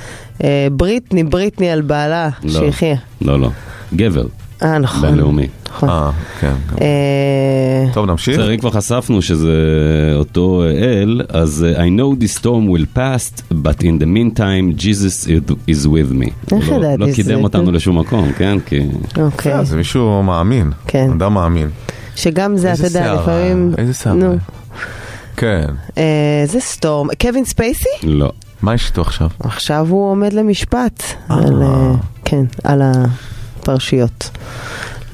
אה, בריטני, בריטני על בעלה,
לא.
שיחיה.
לא, לא. גבר
אה, נכון.
בינלאומי.
נכון.
אה, כן.
אה,
טוב, נמשיך?
בסדר, אם כבר חשפנו שזה אה, אותו אל, אז אה, I know this storm will pass, but in the meantime, Jesus is with me. הוא לא-
ידעתי
לא
שזה?
קידם אותנו לשום מקום, כן? כי...
אוקיי.
אה, זה מישהו מאמין.
כן.
אדם מאמין.
שגם זה, אתה
איזה
יודע,
שיער,
לפעמים...
איזה שיער.
נו,
כן.
אה, זה סטורם. קווין ספייסי?
לא.
מה יש איתו עכשיו?
עכשיו הוא עומד למשפט. על, אה, כן, על הפרשיות.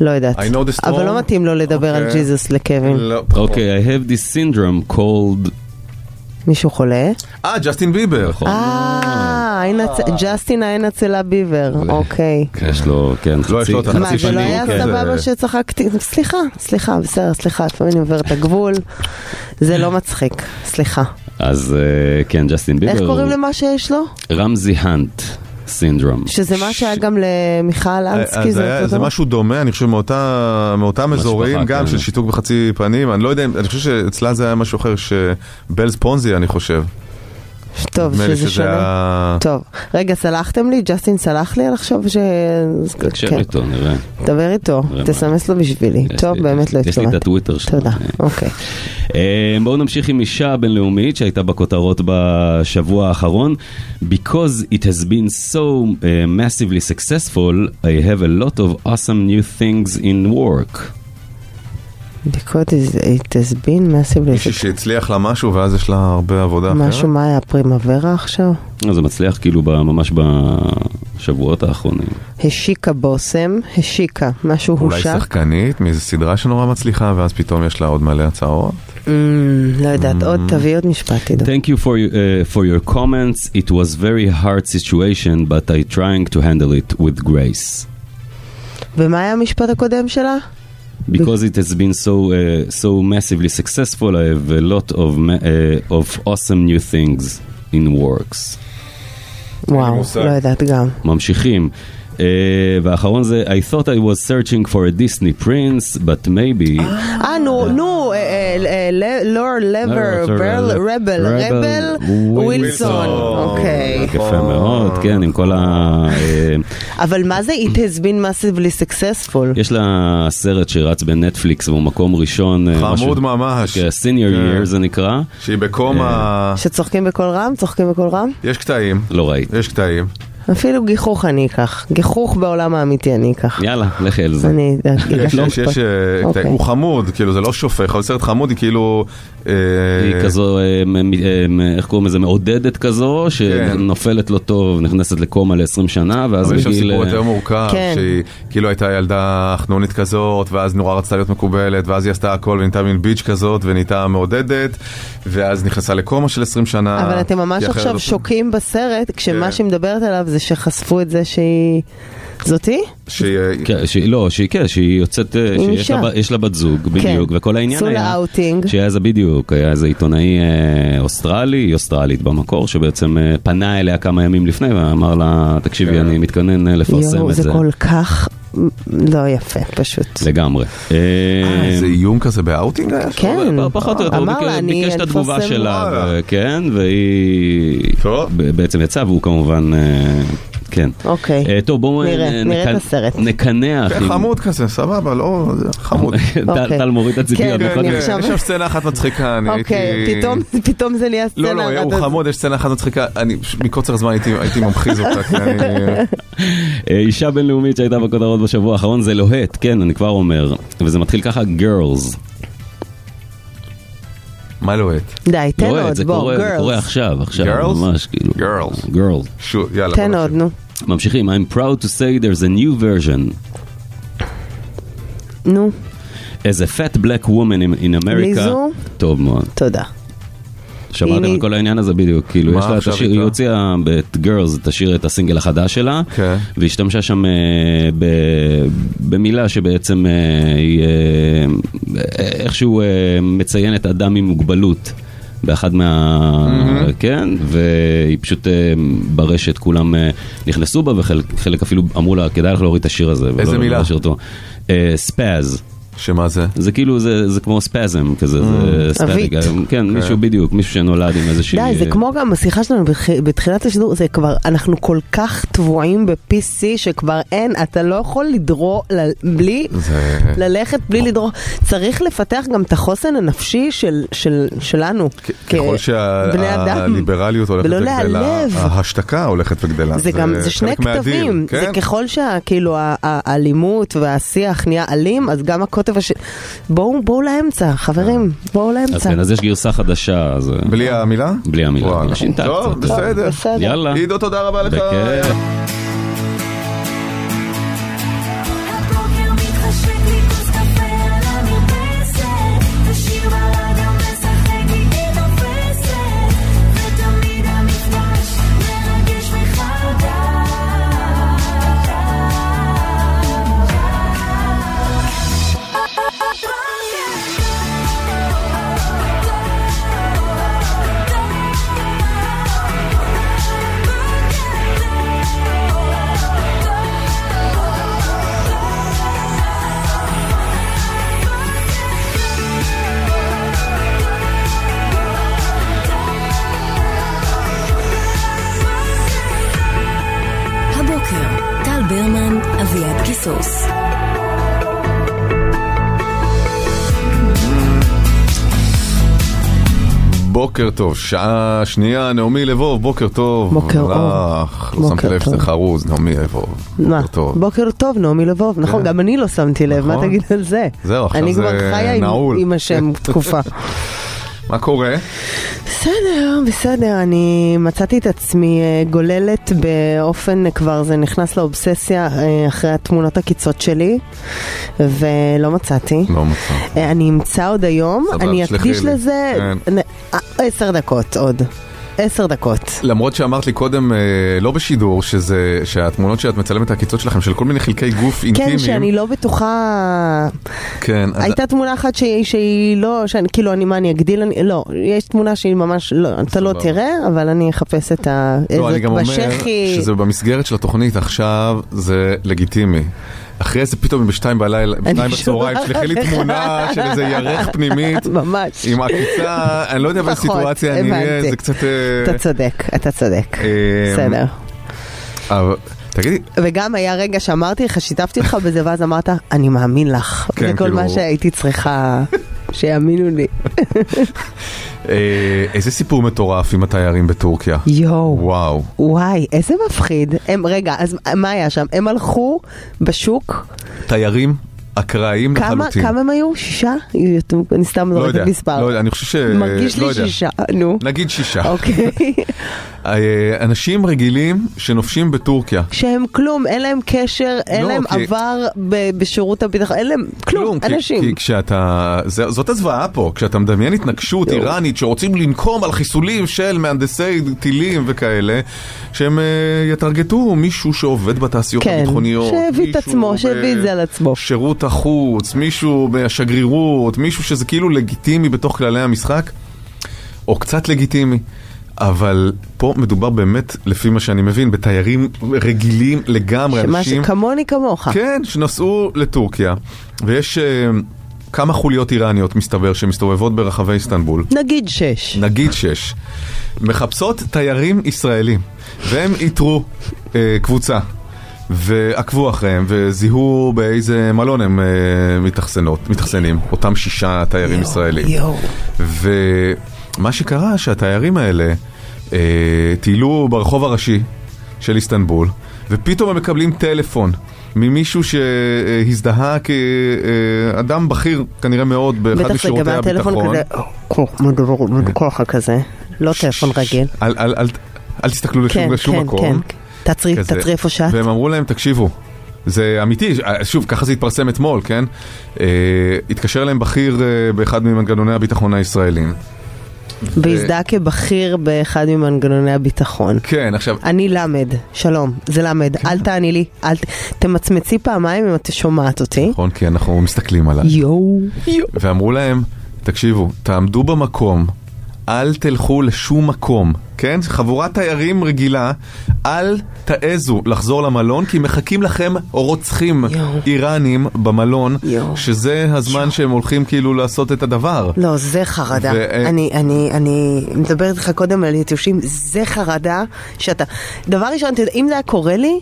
לא יודעת.
I know the storm.
אבל לא מתאים לו לדבר על
אוקיי.
ג'יזוס לקווין.
לא, פחות.
אוקיי, I have this syndrome called...
מישהו חולה?
אה, ג'סטין ביבר.
נכון.
אה, עין הצ- ג'סטין העין עצלה ביבר, אוקיי.
יש לו, כן,
לא, יש
חצי
לו את
חצי
מה, זה לא
פנים,
היה
כן.
סבבה
זה-
שצחקתי? סליחה, סליחה, בסדר, סליחה, לפעמים אני עוברת את הגבול. זה לא מצחיק, סליחה.
אז אה, כן, ג'סטין ביבר.
איך קוראים
הוא
למה שיש לו?
רמזי האנט סינדרום.
שזה מה שהיה גם למיכל אנסקי,
אז היה-
זה
זה
אותו דבר?
משהו דומה, אני חושב, מאותה- מאותם אזורים,
משפחה,
גם
כן.
של שיתוק בחצי פנים, אני לא יודע, אם- אני חושב שאצלה זה היה משהו אחר, שבלז פונזי, אני חושב.
טוב,
נדמה לי
שזה שונה.
היה-
טוב, רגע, סלחתם לי? ג'סטין סלח לי על עכשיו ש...
תקשר
כן.
איתו, נראה.
דבר איתו,
נראה מה-
תסמס לו בשבילי.
יש
טוב,
לי-
באמת לא
יש לי את
התכוונתי.
הטוויטר שלו.
תודה,
אה,
אוקיי.
אה, בואו נמשיך עם אישה בינלאומית שהייתה בכותרות בשבוע האחרון. Because it has been so uh, massively successful, I have a lot of awesome new things in work.
בדיקות, is- it has been massively
מישהי שהצליח לה משהו ואז יש לה הרבה עבודה אחרת.
משהו, מה היה פרימוורה עכשיו?
אה, זה מצליח כאילו ב- ממש בשבועות האחרונים.
השיקה בושם, השיקה, משהו
אולי
הושק.
שחקנית מאיזו סדרה שנורא מצליחה ואז פתאום יש לה עוד מלא הצעות.
Mm, לא יודעת, עוד תביא עוד משפט, עידו.
Thank you for, your- uh, for your comments. It was very hard situation, but I trying to handle it with grace.
ומה היה המשפט הקודם שלה?
Because it has been so uh, so massively successful, I have a lot of ma- uh, of awesome new things in works.
וואו,
מושג.
לא יודעת גם.
ממשיכים. Uh, והאחרון זה I thought I was searching for a Disney prince, but maybe...
אה, נו, נו, אה, אה, אה, ל- לור לבר, ברל- רבל, רבל, ווילסון. אוקיי.
יפה מאוד, כן, עם כל ה... אה,
אבל מה זה It has been massively successful?
יש לה סרט שרץ בנטפליקס והוא מקום ראשון. אה, משהו-
חמוד ממש.
כן, senior
כן.
year זה נקרא.
שהיא בקומה,
אה. שצוחקים בקול רם? צוחקים בקול רם?
יש קטעים,
לא ראיתי.
יש קטעים.
אפילו גיחוך אני אקח. גיחוך בעולם האמיתי אני אקח.
יאללה, לכי על זה.
אני
אה. יש, יש, יש, אה,
לא אוקיי.
הוא חמוד, כאילו זה לא שופך, אבל סרט חמוד היא כאילו... אה,
היא כזו, אה, מ- מ- מ- איך קוראים לזה, מעודדת כזו,
כן.
שנופלת לא טוב, נכנסת לקומה ל-20 שנה, ואז
אבל יש שם
בגיל...
סיפור
אה,
יותר מורכב,
כן.
שהיא כאילו הייתה ילדה חנונית כזאת, ואז נורא רצתה להיות מקובלת, ואז היא עשתה הכל ונהייתה מין ביץ' כזאת, ונהייתה מעודדת, ואז נכנסה לקומה של 20 שנה.
אבל אתם ממש
כי אחרת
עכשיו
לא-
שוקעים בסרט,
כן.
כשמה שהיא מדברת עליו זה שחשפו את זה שהיא... זאתי?
כן, שהיא- לא, שהיא כן, שהיא יוצאת, אה,
היא
שיש לה
אישה. כן.
ב- יש לה בת זוג, בדיוק, וכל העניין
עשו
היה...
לה אאוטינג.
שהיה איזה בדיוק, היה איזה עיתונאי אה, אוסטרלי, היא אוסטרלית במקור, שבעצם אה, פנה אליה כמה ימים לפני ואמר לה,
כן.
תקשיבי, אני מתכנן אה, לפרסם
יואו,
את
זה
זה.
כל כך לא יפה פשוט.
לגמרי. אה, לא,
איזה איום כזה באאוטינג היה?
כן.
פחות או יותר, הוא
אמר לה,
ביקש-
אני-
ביקש את
אני
התגובה
מפרסם.
שלה,
וואלה.
ו- כן, והיא ב- בעצם יצאה, והוא כמובן, אה, כן.
אוקיי.
אה, טוב, בואו
נראה-
אה,
נראה
נק-
את הסרט.
נקנח.
כן,
עם-
חמוד כזה, סבבה, לא, זה חמוד.
טל-
אוקיי.
טל מוריד את נכון? הציפייה.
כן,
בכל
כן,
זאת.
יש שם סצנה אחת מצחיקה, אני הייתי...
אוקיי, פתאום- פתאום זה נהיה סצנה.
לא, לא,
אחת אה,
הוא
הזאת.
חמוד, יש סצנה אחת מצחיקה, אני פש- מקוצר זמן הייתי הייתי ממחיז אותה, כי אני...
אה, אישה בינלאומית שהייתה בכותרות בשבוע האחרון זה לוהט, כן, אני כבר אומר. וזה מתחיל ככה, girls.
מה לוהט?
די, תן
לוהט,
עוד,
זה
בוא,
קורה, זה קורה
girls.
עכשיו, עכשיו,
Girls?
ממש כאילו.
girls.
girls.
שו, יאללה.
תן עוד, נו.
ממשיכים, I'm proud to say there's a new version.
נו,
As a fat black woman in, in America.
ליזו?
טוב מאוד.
תודה.
שמעתם
הנה-
על כל העניין הזה בדיוק, כאילו,
מה
יש לה את
עכשיו
השיר,
איתה?
היא הוציאה את Girls, את השיר, את הסינגל החדש שלה,
כן.
והשתמשה שם אה, ב, במילה שבעצם אה, היא אה, איכשהו אה, מציינת אדם עם מוגבלות. באחד מה...
מהמם.
כן, והיא פשוט אה, ברשת, כולם אה, נכנסו בה, וחלק חלק אפילו אמרו לה, כדאי לך להוריד את השיר הזה. ולא-
איזה
לא
מילה?
להשאיר אותו. אה, ספאז.
שמה זה? אה.
זה כאילו, זה, זה כמו ספזם כזה, זה ספזיק,
עווית.
כן,
אוקיי.
מישהו בדיוק, מישהו שנולד עם איזושהי...
די, זה כמו גם השיחה שלנו בתח- בתחילת השידור, זה כבר, אנחנו כל כך טבועים ב-PC שכבר אין, אתה לא יכול לדרור ל- בלי,
זה-
ללכת בלי לדרור. צריך לפתח גם את החוסן הנפשי של- של- שלנו.
ככל
בני אדם.
שהליברליות הולכת
ולא
וגדלה,
להיעלב.
ההשתקה הולכת וגדלה.
זה גם, זה שני
חלק מהדין,
כתבים,
כן?
זה ככל שכאילו האלימות והשיח נהיה אלים, אז גם הקוטב הש... בואו בואו לאמצע, חברים,
אה.
בואו
אז
לאמצע.
כן, אז יש גרסה חדשה, אז... אה,
בלי המילה?
בלי המילה,
וואלה.
אבל שינתה
טוב,
קצת.
בסדר.
יאללה.
עידו, תודה רבה לך.
בכיף.
הבוקר מתחשק לי כוס קפה על המרפסת, ושיר בלד המשחק איתי תופסת, ותמיד המפגש מרגש מחדש.
הבוקר, טל ברמן, אביעד קיסוס.
בוקר טוב, שעה שנייה, נעמי לבוב, בוקר טוב.
בוקר אור.
לך, לא
בוקר
שמת לב
טוב.
שזה חרוז, נעמי לבוב.
מה?
בוקר טוב. כן.
בוקר טוב, נעמי לבוב. נכון, גם אני לא שמתי לב, מה
נכון.
תגיד על זה?
זהו, עכשיו
אני
זה
כבר חיה עם-
נעול. כן.
עם השם תקופה.
מה קורה?
בסדר, בסדר, אני מצאתי את עצמי אה, גוללת באופן, אה, כבר זה נכנס לאובססיה אה, אחרי התמונות הקיצות שלי, ולא מצאתי.
לא מצא.
אה, אני אמצא עוד היום,
סבבה,
אני
תשלחי
אקדיש
לי.
לזה
כן.
נ- אה, עשר דקות עוד. עשר דקות.
למרות שאמרת לי קודם, אה, לא בשידור, שזה, שהתמונות שאת מצלמת, הקיצות שלכם, של כל מיני חלקי גוף אינטימיים.
כן, שאני לא בטוחה...
כן, אז-
הייתה תמונה אחת שהיא- שהיא לא, שאני, כאילו, אני, מה, אני אגדיל? אני, לא, יש תמונה שהיא ממש, לא, אתה לא
סבבה.
תראה, אבל אני אחפש את ה...
לא,
איזה-
אני גם אומר
בשחי.
שזה במסגרת של התוכנית עכשיו, זה לגיטימי. אחרי זה פתאום בשתיים בלילה, בשתיים בצהריים,
שולחת
שלחי לי
לך.
תמונה של איזה ירך פנימית.
ממש.
עם עקיצה, אני לא יודע באיזה
פחות,
סיטואציה אני אהיה,
הבנתי.
זה קצת... אה,
אתה צודק, אתה צודק.
אה,
בסדר.
אבל- תגידי,
וגם היה רגע שאמרתי לך, שיתפתי אותך בזה, ואז אמרת, אני מאמין לך.
כן,
זה כל
כאילו-
מה שהייתי צריכה שיאמינו לי.
אה, איזה סיפור מטורף עם התיירים בטורקיה.
יואו.
וואו.
וואי, איזה מפחיד. הם, רגע, אז מה היה שם? הם הלכו בשוק,
תיירים אקראיים
כמה,
לחלוטין.
כמה הם היו? שישה? אני סתם
לא
זורקת
יודע,
מספר.
לא יודע, אני חושב ש...
מרגיש לי
לא יודע.
שישה, נו.
נגיד שישה.
אוקיי.
אה, אנשים רגילים שנופשים בטורקיה.
שהם כלום, אין להם קשר, אין
לא,
להם
כי-
עבר ב- בשירות הביטחון, אין להם כלום,
כי-
אנשים.
כי כשאתה, זה- זאת הזוועה פה, כשאתה מדמיין התנגשות איראנית שרוצים לנקום על חיסולים של מהנדסי טילים וכאלה, שהם אה, יטרגטו מישהו שעובד בתעשיות
כן,
הביטחוניות.
שהביא
מישהו
את
אה,
עצמו, שהביא את זה על עצמו.
שירות החוץ, מישהו מהשגרירות, מישהו שזה כאילו לגיטימי בתוך כללי המשחק, או קצת לגיטימי. אבל פה מדובר באמת, לפי מה שאני מבין, בתיירים רגילים לגמרי,
שמה
אנשים...
שכמוני כמוך.
כן, שנסעו לטורקיה, ויש אה, כמה חוליות איראניות, מסתבר, שמסתובבות ברחבי איסטנבול.
נגיד שש.
נגיד שש. מחפשות תיירים ישראלים, והם איתרו אה, קבוצה. ועקבו אחריהם וזיהו באיזה מלון הם אה, מתאכסנות, מתאכסנים, אותם שישה תיירים יו, ישראלים.
יואו.
ומה שקרה שהתיירים האלה אה, טיילו ברחוב הראשי של איסטנבול, ופתאום הם מקבלים טלפון ממישהו שהזדהה כאדם בכיר כנראה מאוד באחד
בטח זה גם
משירותי
היה
הביטחון. כן.
טלפון כזה, "אוקיי, או, מדובר- מדוכח כזה, לא טלפון רגיל.
אל, אל, אל, אל תסתכלו לשום,
כן,
לשום
כן,
מקום.
כן. תעצרי,
כזה.
תעצרי איפה שאת.
והם אמרו להם, תקשיבו, זה אמיתי, אה, שוב, ככה זה התפרסם אתמול, כן? אה, התקשר אליהם בכיר אה, באחד ממנגנוני הביטחון הישראלים.
והזדהה כבכיר באחד ממנגנוני הביטחון.
כן, עכשיו...
אני למד, שלום, זה למד, אל תעני לי, אל ת... תמצמצי פעמיים אם את שומעת אותי.
נכון, כי אנחנו מסתכלים עליו. נכון.
יואו.
ואמרו להם, תקשיבו, תעמדו במקום, אל תלכו לשום מקום, כן? חבורת תיירים רגילה, אל תעזו לחזור למלון, כי מחכים לכם רוצחים איראנים במלון, שזה הזמן שהם הולכים כאילו לעשות את הדבר.
לא, זה חרדה.
ו-
אני, אני, אני מדברת איתך קודם על יתושים, זה חרדה שאתה... דבר ראשון, אתה יודע, אם זה היה קורה לי,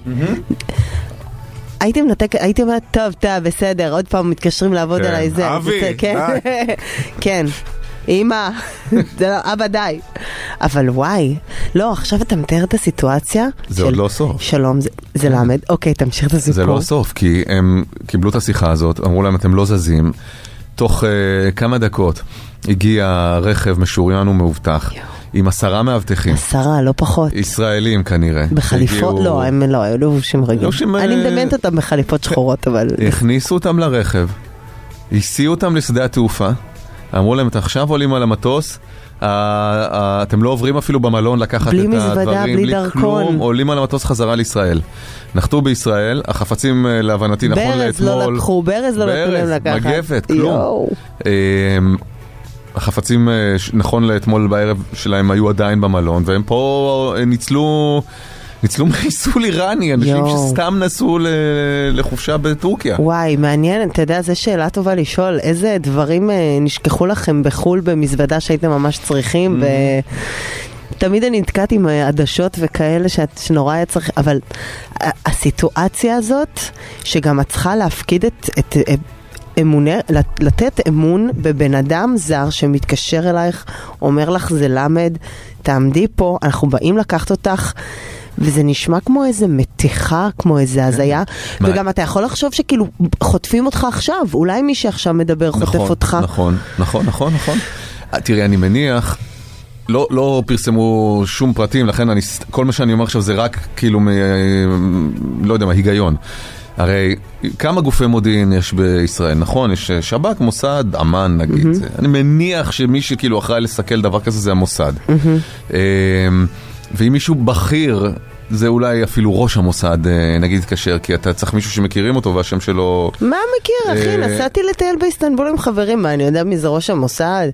הייתי מנתק, הייתי אומרת, טוב, טוב, בסדר, עוד פעם מתקשרים לעבוד
כן.
עליי זה.
אבי,
זה- כן,
די.
כן. אמא, זה לא- אבא די. אבל וואי, לא, עכשיו אתה מתאר את הסיטואציה.
זה עוד לא הסוף.
שלום, זה- זה למד. אוקיי, תמשיך את הסיפור.
זה לא הסוף, כי הם קיבלו את השיחה הזאת, אמרו להם אתם לא זזים. תוך uh, כמה דקות הגיע רכב משוריין ומאובטח, עם עשרה מאבטחים,
עשרה, לא פחות.
ישראלים כנראה.
בחליפות?
שהגיעו-
לא, הם לא, היו לבושים רגילים. אני מדמיינת אותם בחליפות שחורות, אבל...
הכניסו אותם לרכב, הסיעו אותם לשדה התעופה, אמרו להם, אתם עכשיו עולים על המטוס, אה, אה, אתם לא עוברים אפילו במלון לקחת
בלי
את
מזוודה,
הדברים,
בלי
כלום,
דרכון."
עולים על המטוס חזרה לישראל. נחתו בישראל, החפצים אה, להבנתי, נכון לאתמול,
ברז לא לקחו, ברז לא נתנו להם
ברז,
לקחת.
מגבת, כלום.
יואו.
אמ, החפצים, אה, ש- נכון לאתמול בערב שלהם, היו עדיין במלון, והם פה אה, ניצלו... ניצלו מחיסול איראני, אנשים
יואו.
שסתם נסעו ל- לחופשה בטורקיה.
וואי, מעניין, אתה יודע, זו שאלה טובה לשאול, איזה דברים אה, נשכחו לכם בחו"ל במזוודה שהייתם ממש צריכים, ו... תמיד אני נתקעת עם אה, עדשות וכאלה שאת, שנורא היה צריך, אבל ה- הסיטואציה הזאת, שגם את צריכה להפקיד את, את אה, אמוני, לת- לתת אמון בבן אדם זר שמתקשר אלייך, אומר לך זה למד, תעמדי פה, אנחנו באים לקחת אותך. וזה נשמע כמו איזה מתיחה, כמו איזה הזיה,
כן. מה?
וגם אתה יכול לחשוב שכאילו חוטפים אותך עכשיו, אולי מי שעכשיו מדבר חוטף
נכון,
אותך.
נכון, נכון, נכון, נכון. אה, תראי, אני מניח, לא, לא פרסמו שום פרטים, לכן אני, ס- כל מה שאני אומר עכשיו זה רק כאילו, מ, לא יודע מה, היגיון. הרי כמה גופי מודיעין יש בישראל, נכון? יש אה, שב"כ, מוסד, אמ"ן נגיד. Mm-hmm. אני מניח שמי שכאילו אחראי לסכל דבר כזה זה המוסד. Mm-hmm. ואם מישהו בכיר, זה אולי אפילו ראש המוסד, אה, נגיד, התקשר, כי אתה צריך מישהו שמכירים אותו והשם שלו...
מה מכיר, אחי?
אה,
נסעתי לטייל באיסטנבול עם חברים, מה, אני יודע מי זה ראש המוסד?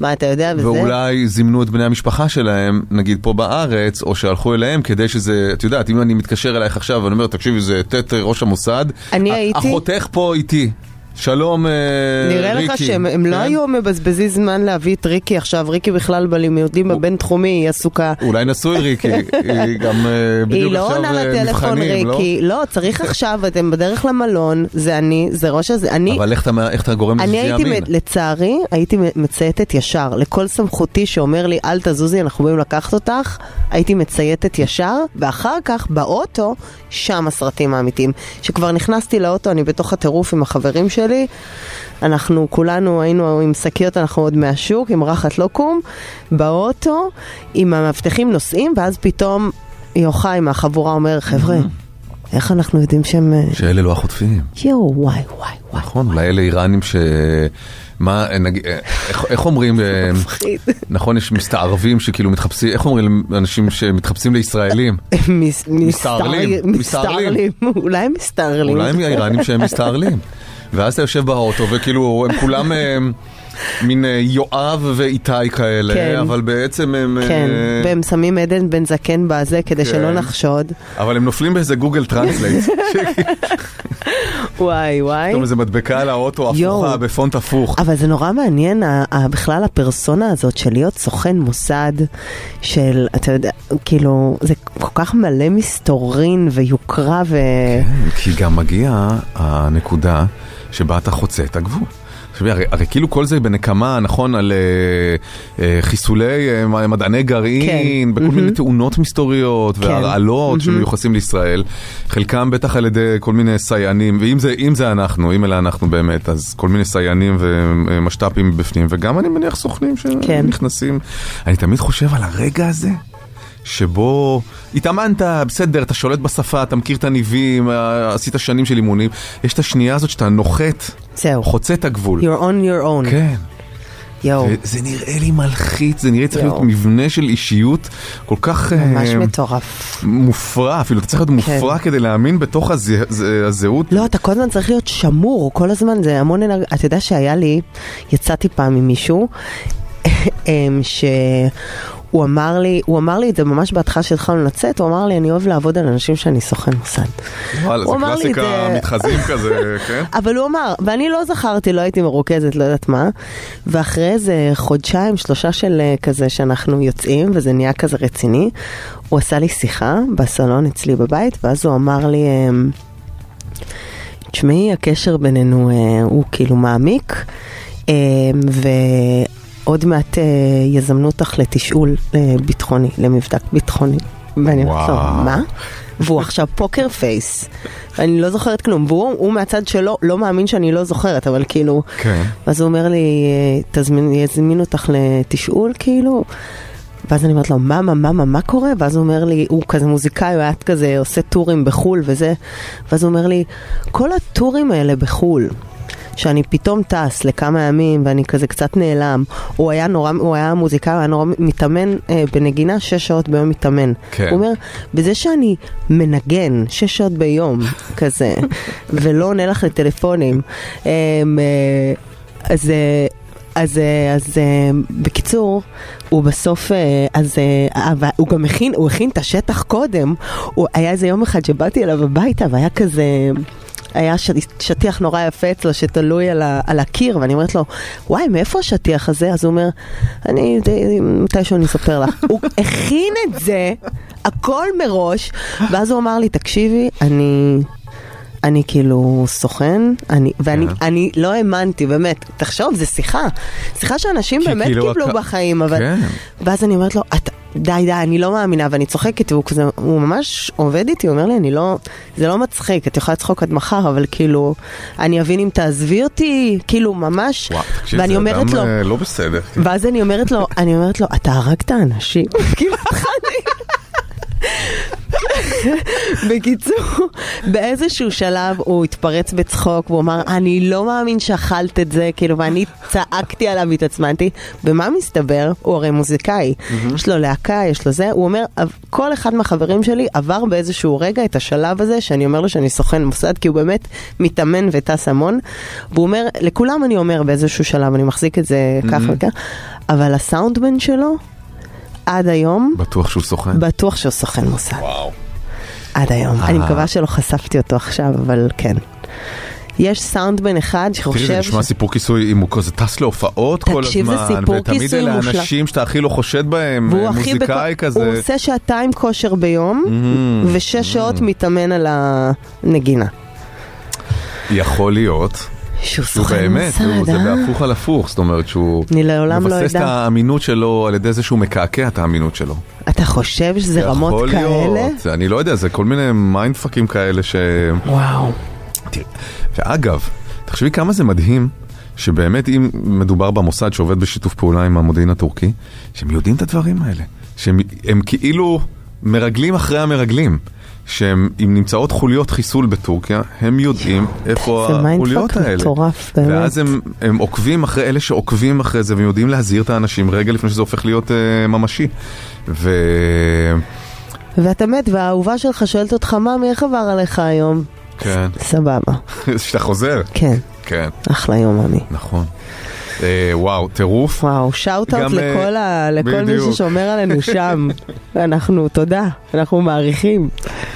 מה, אתה יודע וזה?
ואולי זימנו את בני המשפחה שלהם, נגיד פה בארץ, או שהלכו אליהם כדי שזה, את יודעת, אם אני מתקשר אלייך עכשיו ואני אומר, תקשיבי, זה ט' ראש אה, המוסד,
אני
ה-
הייתי-
החותך פה איתי. שלום, אה, ריקי.
נראה לך שהם הם לא
כן?
היו מבזבזים זמן להביא את ריקי עכשיו, ריקי בכלל בלימודים בבינתחומי, היא עסוקה.
אולי נשוי ריקי, היא גם אה,
היא
בדיוק
לא
עכשיו
עונה
אה,
לטלפון
מבחנים, לא?
ריקי, לא, צריך עכשיו, אתם בדרך למלון, זה אני, זה ראש הזה, אני,
אבל איך אתה מה- איך אתה גורם לזה
אני
שזה
הייתי,
יאמין?
מ- לצערי, הייתי מ- מצייתת ישר. לכל סמכותי שאומר לי, אל תזוזי, אנחנו באים לקחת אותך, הייתי מצייתת ישר, ואחר כך, באוטו, שם הסרטים האמיתיים. כשכבר נכנסתי לאוטו, אני בתוך הטירוף עם החברים שלי, אנחנו כולנו היינו עם שקיות, אנחנו עוד מהשוק, עם רחת לוקום, באוטו, עם המאבטחים נוסעים, ואז פתאום יוחאי מהחבורה אומר, חבר'ה, איך אנחנו יודעים שהם... אה,
שאלה לא החוטפים.
יואו, וואי, וואי.
נכון, אולי אלה איראנים ש... מה, אה, נגיד, אה, איך, איך אומרים, אה, נכון, יש מסתערבים שכאילו מתחפשים, איך אומרים אנשים שמתחפשים לישראלים?
מס-
מסתערלים,
מסתער-
מסתערלים.
אולי הם מסתערלים.
אולי הם האיראנים שהם מסתערלים. ואז אתה יושב באוטו וכאילו הם כולם אה, מין אה, יואב ואיתי כאלה,
כן.
אבל בעצם הם... אה,
כן, והם שמים עדן בן זקן בזה כדי
כן.
שלא נחשוד.
אבל הם נופלים באיזה גוגל טרנסלייט.
וואי וואי.
פתאום איזה מדבקה על האוטו
יואו.
הפוכה, בפונט הפוך.
אבל זה נורא מעניין, ה- ה- בכלל הפרסונה הזאת של להיות סוכן מוסד, של, אתה יודע, כאילו, זה כל כך מלא מסתורין ויוקרה ו...
כי גם מגיעה הנקודה שבה אתה חוצה את הגבול. תשמעי, הרי, הרי כאילו כל זה בנקמה, נכון, על אה, אה, חיסולי אה, מ- מדעני גרעין,
כן.
בכל מיני
מהמם. כן.
תאונות מסתוריות והרעלות שמיוחסים לישראל, חלקם בטח על ידי כל מיני סייענים, ואם זה, אם זה אנחנו, אם אלה אנחנו באמת, אז כל מיני סייענים ומשת"פים בפנים, וגם אני מניח סוכנים
כן.
שנכנסים. אני תמיד חושב על הרגע הזה. שבו התאמנת, בסדר, אתה שולט בשפה, אתה מכיר את הניבים, אה, עשית שנים של אימונים. יש את השנייה הזאת שאתה נוחת,
זהו.
חוצה את הגבול.
You're on your own.
כן.
יואו.
זה- זה נראה לי מלחיץ, זה נראה צריך להיות
יואו.
מבנה של אישיות כל כך... אה,
ממש מטורף. כן.
מופרע, אפילו אתה צריך להיות מופרע כדי להאמין בתוך הזה- זה- הזהות.
לא, אתה כל הזמן צריך להיות שמור, כל הזמן זה המון אנרגיה. אתה יודע שהיה לי, יצאתי פעם עם מישהו, אמ, שהוא אמר לי, הוא אמר לי את זה ממש בהתחלה שהתחלנו לצאת, הוא אמר לי, אני אוהב לעבוד על אנשים שאני סוכן מוסד.
וואלה, זה
הוא אמר לי את
קלאסיקה
זה-
מתחזים כזה, כן?
אבל הוא אמר, ואני לא זכרתי, לא הייתי מרוכזת, לא יודעת מה. ואחרי איזה חודשיים, שלושה של אה, כזה שאנחנו יוצאים, וזה נהיה כזה רציני, הוא עשה לי שיחה בסלון אצלי בבית, ואז הוא אמר לי, אמ, תשמעי, הקשר בינינו אה, הוא כאילו מעמיק, אה, ועוד מעט אה, יזמנו אותך לתשאול אה, ביטחוני, למבדק ביטחוני. ואני אומרת לו,
וואו.
מה? והוא עכשיו פוקר פייס, ואני לא זוכרת כלום, והוא הוא מהצד שלו לא מאמין שאני לא זוכרת, אבל כאילו...
כן.
אז הוא אומר לי, אה, תזמין, יזמין אותך לתשאול, כאילו? ואז אני אומרת לו, מה, מה, מה, מה, מה קורה? ואז הוא אומר לי, הוא כזה מוזיקאי, הוא היה כזה עושה טורים בחו"ל וזה, ואז הוא אומר לי, כל הטורים האלה בחו"ל, שאני פתאום טס לכמה ימים ואני כזה קצת נעלם, הוא היה נורא, הוא היה מוזיקאי, הוא היה נורא מתאמן אה, בנגינה, שש שעות ביום מתאמן.
כן.
הוא אומר, בזה שאני מנגן שש שעות ביום, כזה, ולא עונה לך לטלפונים, אמ, אה, אז... אה, אז, אה, אז אה, בקיצור, הוא בסוף, אה, אז אה, אבל הוא גם הכין, הוא הכין את השטח קודם. הוא, היה איזה יום אחד שבאתי אליו הביתה והיה כזה, היה ש, שטיח נורא יפה אצלו שתלוי על, ה, על הקיר, ואני אומרת לו, וואי, מאיפה השטיח הזה? אז הוא אומר, אני, די- מתישהו אני אספר לך. הוא הכין את זה, הכל מראש, ואז הוא אמר לי, תקשיבי, אני... אני כאילו סוכן, אני,
כן.
ואני אני לא האמנתי, באמת, תחשוב, זו שיחה, שיחה שאנשים באמת
כאילו
קיבלו
הק-
בחיים, אבל...
כן.
ואז אני אומרת לו, "את- די, די, אני לא מאמינה, ואני צוחקת, והוא כזה, הוא ממש עובד איתי, הוא אומר לי, אני לא, זה לא מצחיק, את יכולה לצחוק עד מחר, אבל כאילו, אני אבין אם תעזבי אותי, כאילו, ממש,
וואו, תקשיב,
ואני
זה
אומרת
אדם
לו,
אה, לא בסדר.
ואז אני אומרת לו, אני אומרת לו, אתה הרגת אנשים? כאילו, בקיצור, באיזשהו שלב הוא התפרץ בצחוק, והוא אמר, אני לא מאמין שאכלת את זה, כאילו, ואני צעקתי עליו והתעצמנתי, ומה מסתבר? הוא הרי מוזיקאי, יש לו להקה, יש לו זה, הוא אומר, "אב- כל אחד מהחברים שלי עבר באיזשהו רגע את השלב הזה, שאני אומר לו שאני סוכן מוסד, כי הוא באמת מתאמן וטס המון, והוא אומר, לכולם אני אומר באיזשהו שלב, אני מחזיק את זה כך
Mhm.
וכך, אבל הסאונדמן שלו, עד היום,
בטוח שהוא סוכן.
בטוח שהוא סוכן מוסד.
וואו.
עד היום.
כן. אה.
אני מקווה שלא חשפתי אותו עכשיו, אבל כן. יש סאונדמן אחד
תראי, זה
שחושב...
נשמע סיפור כיסוי אם הוא כזה טס להופעות כל הזמן.
תקשיב, זה סיפור
ותמיד
כיסוי
אלה
מושלם.
האנשים שאתה הכי לא חושד בהם,
והוא הכי
מוזיקאי
בכל-
כזה.
הוא עושה שעתיים כושר ביום,
Mm.
ושש שעות מתאמן על הנגינה.
יכול להיות.
שהוא
סוכן באמת,
מסעד,
הוא- זה
אה?
בהפוך על הפוך, זאת אומרת שהוא...
אני לעולם לא
מבסס את
אדע.
האמינות שלו על ידי זה שהוא מקעקע את האמינות שלו.
אתה חושב שזה רמות כאלה?
להיות, אני לא יודע, זה כל מיני מיינד פאקים כאלה ש...
וואו.
ואגב, תחשבי כמה זה מדהים. שבאמת אם מדובר במוסד שעובד בשיתוף פעולה עם המודיעין הטורקי, שהם יודעים את הדברים האלה. שהם הם כאילו מרגלים אחרי המרגלים. שהם, אם נמצאות חוליות חיסול בטורקיה, הם יודעים איפה
זה מיינדפאק
החוליות האלה.
מטורף, באמת.
ואז הם, הם עוקבים אחרי אלה שעוקבים אחרי זה, והם יודעים להזהיר את האנשים רגע לפני שזה הופך להיות אה, ממשי. ו...
ואתה מת, והאהובה שלך שואלת אותך, ממי, איך עבר עליך היום?
כן.
סבבה.
שאתה חוזר.
כן.
כן.
אחלה יום, עמי.
נכון. אה, וואו, טירוף.
וואו, שאוט-אאוט
גם, אה,
לכל, ה... לכל מי
בדיוק.
ששומר עלינו שם. אנחנו, תודה, אנחנו מעריכים.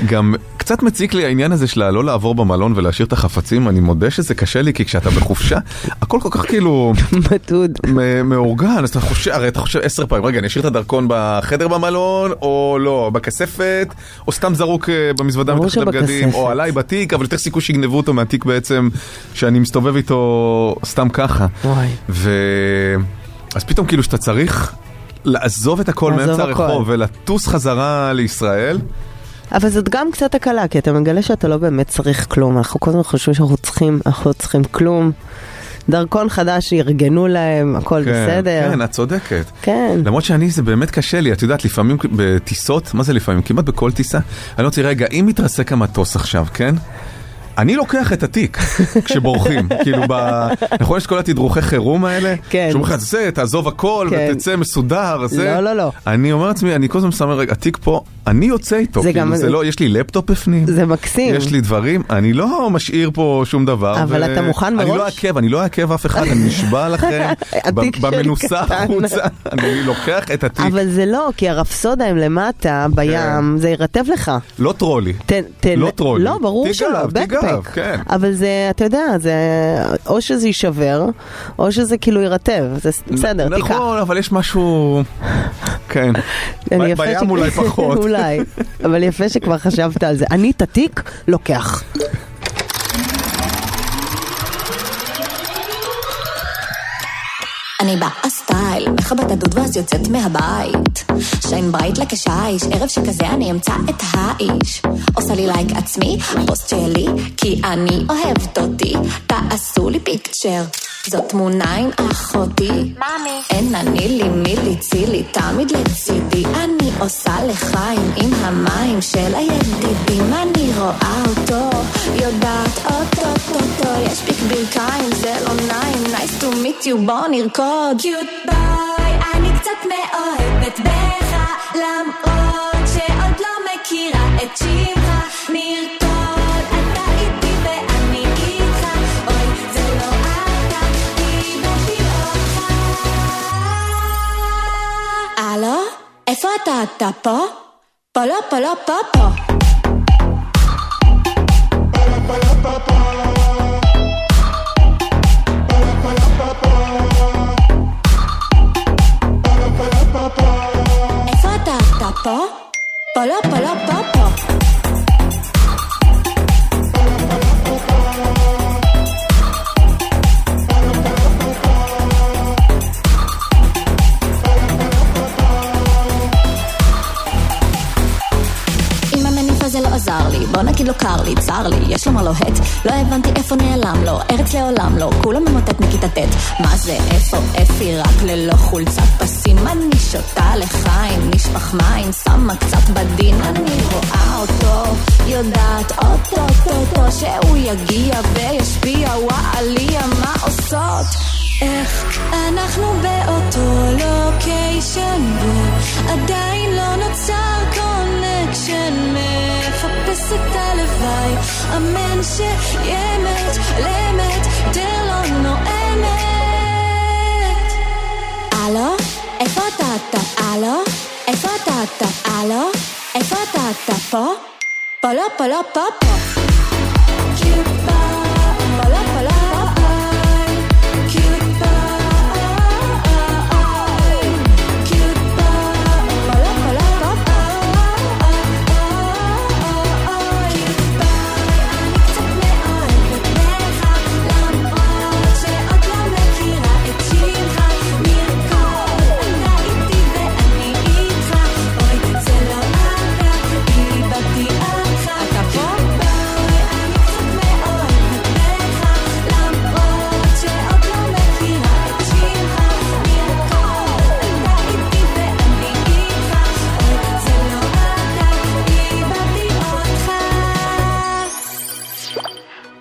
גם קצת מציק לי העניין הזה של לא לעבור במלון ולהשאיר את החפצים, אני מודה שזה קשה לי, כי כשאתה בחופשה, הכל כל כך כאילו...
מתוד.
מאורגן, אז אתה חושב, הרי אתה חושב עשר פעמים, רגע, אני אשאיר את הדרכון בחדר במלון, או לא, בכספת, או סתם זרוק אה, במזוודה
ברור
מתחת לבגדים,
שבכספת.
או עליי בתיק, אבל יותר סיכוי שיגנבו אותו מהתיק בעצם, שאני מסתובב איתו סתם ככה.
וואי.
ו... אז פתאום כאילו שאתה צריך לעזוב את הכל
לעזוב
מאמצע
הכל.
הרחוב ולטוס חזרה לישראל.
אבל זאת גם קצת הקלה, כי אתה מגלה שאתה לא באמת צריך כלום. אנחנו כל הזמן חושבים שאנחנו צריכים, אנחנו לא צריכים כלום. דרכון חדש, ארגנו להם, הכל
כן,
בסדר.
כן, את צודקת.
כן.
למרות שאני, זה באמת קשה לי, את יודעת, לפעמים בטיסות, מה זה לפעמים? כמעט בכל טיסה, אני רוצה, רגע, אם מתרסק המטוס עכשיו, כן? אני לוקח את התיק כשבורחים, כאילו, ב... נכון, יש כל התדרוכי חירום האלה?
כן.
שאומרים לך, זה, תעזוב הכל
כן.
ותצא מסודר, זה...
לא, לא, לא.
אני אומר לעצמי, אני כל הזמן שם, רגע, התיק פה, אני יוצא איתו,
זה
כאילו,
גם-
זה לא, יש לי לפטופ בפנים.
זה מקסים.
יש לי דברים, אני לא משאיר פה שום דבר.
אבל אתה מוכן
אני
מראש?
לא אעכב, אני לא אעכב אף אחד, אני נשבע לכם.
התיק
ב-
שלי
במנוסה
קטן.
החוצה, אני לוקח את התיק.
אבל זה לא, כי הרפסודה הם למטה, בים, זה ירטב לך.
לא טרולי.
תן, תן,
כן. לא טרולי.
לא, ברור
תיק
שלא,
גב, תיק גב,
בקפק.
כן.
אבל זה, אתה יודע, זה, או שזה יישבר, או שזה כאילו יירטב, זה ס- בסדר, תיקח.
נכון, אבל יש משהו... כן.
אני
ב-
יפה
בים
ש-
אולי פחות.
אולי, אבל יפה שכבר חשבת על זה. אני את התיק לוקח.
אני באה סטייל, מכבת הדוד ואז יוצאת מהבית. שיין ברייט לקשייש, ערב שכזה אני אמצא את האיש. עושה לי לייק עצמי, פוסט שלי, כי אני אוהבת אותי. תעשו לי פיקצ'ר, זאת תמונה עם אחותי. מאמי. אין אני לי מילי צילי, תמיד לצידי. אני עושה לחיים עם המים של הידידים. אני רואה אותו, יודעת אוטוטוטו, יש פיק ברכיים, זה לא נעים, nice to meet you, בוא נרקוד. קיוט ביי, אני קצת מאוהבת בך, למרות שעוד לא מכירה את שמך, נרקוד, אתה איתי ואני איתך, אוי, זה לא אתה, כאילו תראותך. הלו? איפה אתה? אתה פה? פה לא, פה לא, פה פה. איפה אתה? אתה פה? פה לא, פה לא, פה פה. אם המניף הזה לא עזר לי, בוא נגיד לו קר לי, צר לי, יש לו מה לוהט, לא הבנתי איפה נעלם לו, ארץ לעולם לא, כולו ממוטט מכיתה ט', מה זה, איפה, אפי, רק ללא חולצת פסים, אני שותה לחיים, נשפך מים, שמה קצת בדין, אני רואה אותו, יודעת אוטוטוטו, שהוא יגיע וישפיע, וואליה, מה עושות? איך אנחנו באותו לוקיישן בו עדיין לא נוצר קונקשן מחפש את הלוואי אמן שיהיה מת למת דלא נואמת הלו? איפה אתה? אתה הלו? איפה אתה? אתה הלו? איפה אתה? אתה פה? פה לא פה לא פה פה קיופה פה לא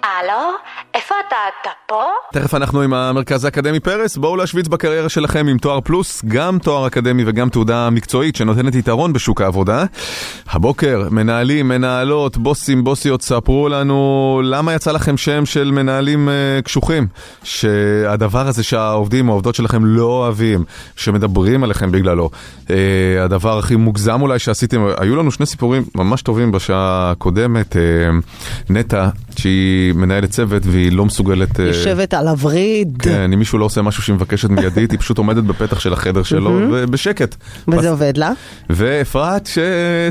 הלו? איפה אתה? אתה פה?
תכף אנחנו עם המרכז האקדמי פרס, בואו להשוויץ בקריירה שלכם עם תואר פלוס, גם תואר אקדמי וגם תעודה מקצועית שנותנת יתרון בשוק העבודה. הבוקר, מנהלים, מנהלות, בוסים, בוסיות, ספרו לנו למה יצא לכם שם של מנהלים אה, קשוחים, שהדבר הזה שהעובדים או העובדות שלכם לא אוהבים, שמדברים עליכם בגללו. אה, הדבר הכי מוגזם אולי שעשיתם, היו לנו שני סיפורים ממש טובים בשעה הקודמת, אה, נטע, שהיא מנהלת צוות והיא לא מסוגלת... אה,
יושבת על הווריד,
כן, אם מישהו לא עושה משהו שהיא מבקשת מידית, היא פשוט עומדת בפתח של החדר שלו,
מהמם.
ובשקט.
וזה עובד לה,
ואפרת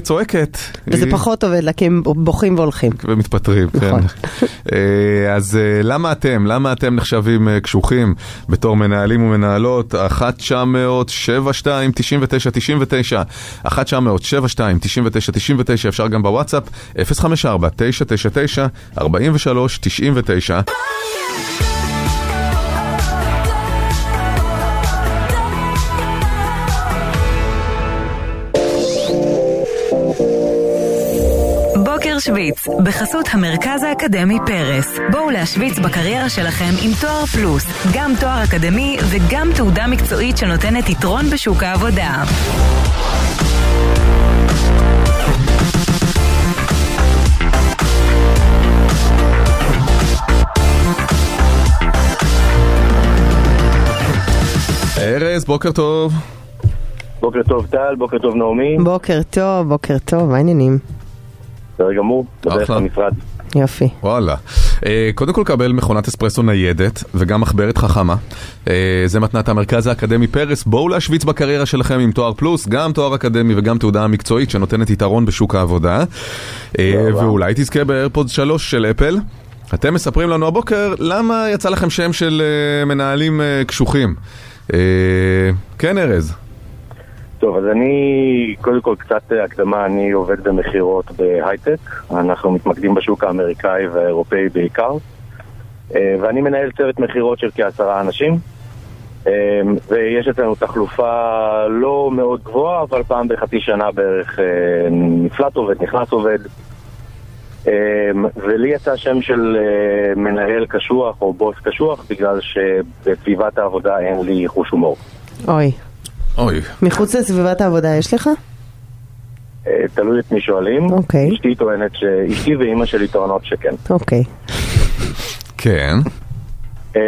שצועקת.
וזה
היא-
פחות עובד לה, כי הם בוכים והולכים.
ומתפטרים, כן.
נכון.
אה, אז אה, למה אתם, למה אתם נחשבים אה, קשוחים בתור מנהלים ומנהלות? 1 900 72 99 99 1 900 72 99 99 אפשר גם בוואטסאפ 054 999 43 99
בוקר שוויץ, בחסות המרכז האקדמי פרס. בואו להשוויץ בקריירה שלכם עם תואר פלוס, גם תואר אקדמי וגם תעודה מקצועית שנותנת יתרון בשוק העבודה.
ארז, בוקר טוב.
בוקר טוב טל, בוקר טוב נעמי,
בוקר טוב, בוקר טוב, מה העניינים?
בסדר גמור, בדרך למשרד.
יופי.
וואלה. אה, קודם כל קבל מכונת אספרסו ניידת וגם מחברת חכמה. אה, זה מתנת המרכז האקדמי פרס. בואו להשוויץ בקריירה שלכם עם תואר פלוס, גם תואר אקדמי וגם תעודה מקצועית שנותנת יתרון בשוק העבודה. אה, ואולי תזכה באיירפוד 3 של אפל. אתם מספרים לנו הבוקר למה יצא לכם שם של אה, מנהלים אה, קשוחים. אה, כן ארז.
טוב, אז אני, קודם כל קצת אה, הקדמה, אני עובד במכירות בהייטק, אנחנו מתמקדים בשוק האמריקאי והאירופאי בעיקר, אה, ואני מנהל צוות מכירות של כעשרה אנשים, אה, ויש אצלנו תחלופה לא מאוד גבוהה, אבל פעם בחצי שנה בערך אה, נפלט עובד, נכנס עובד. אה, ולי יצא שם של אה, מנהל קשוח או בוס קשוח בגלל שבסביבת העבודה אין לי חוש הומור.
אוי.
אוי.
מחוץ לסביבת העבודה יש לך?
אה, תלוי את מי שואלים.
אוקיי.
אשתי טוענת ש... אשתי ואימא שלי טוענות שכן.
אוקיי.
כן.
אה,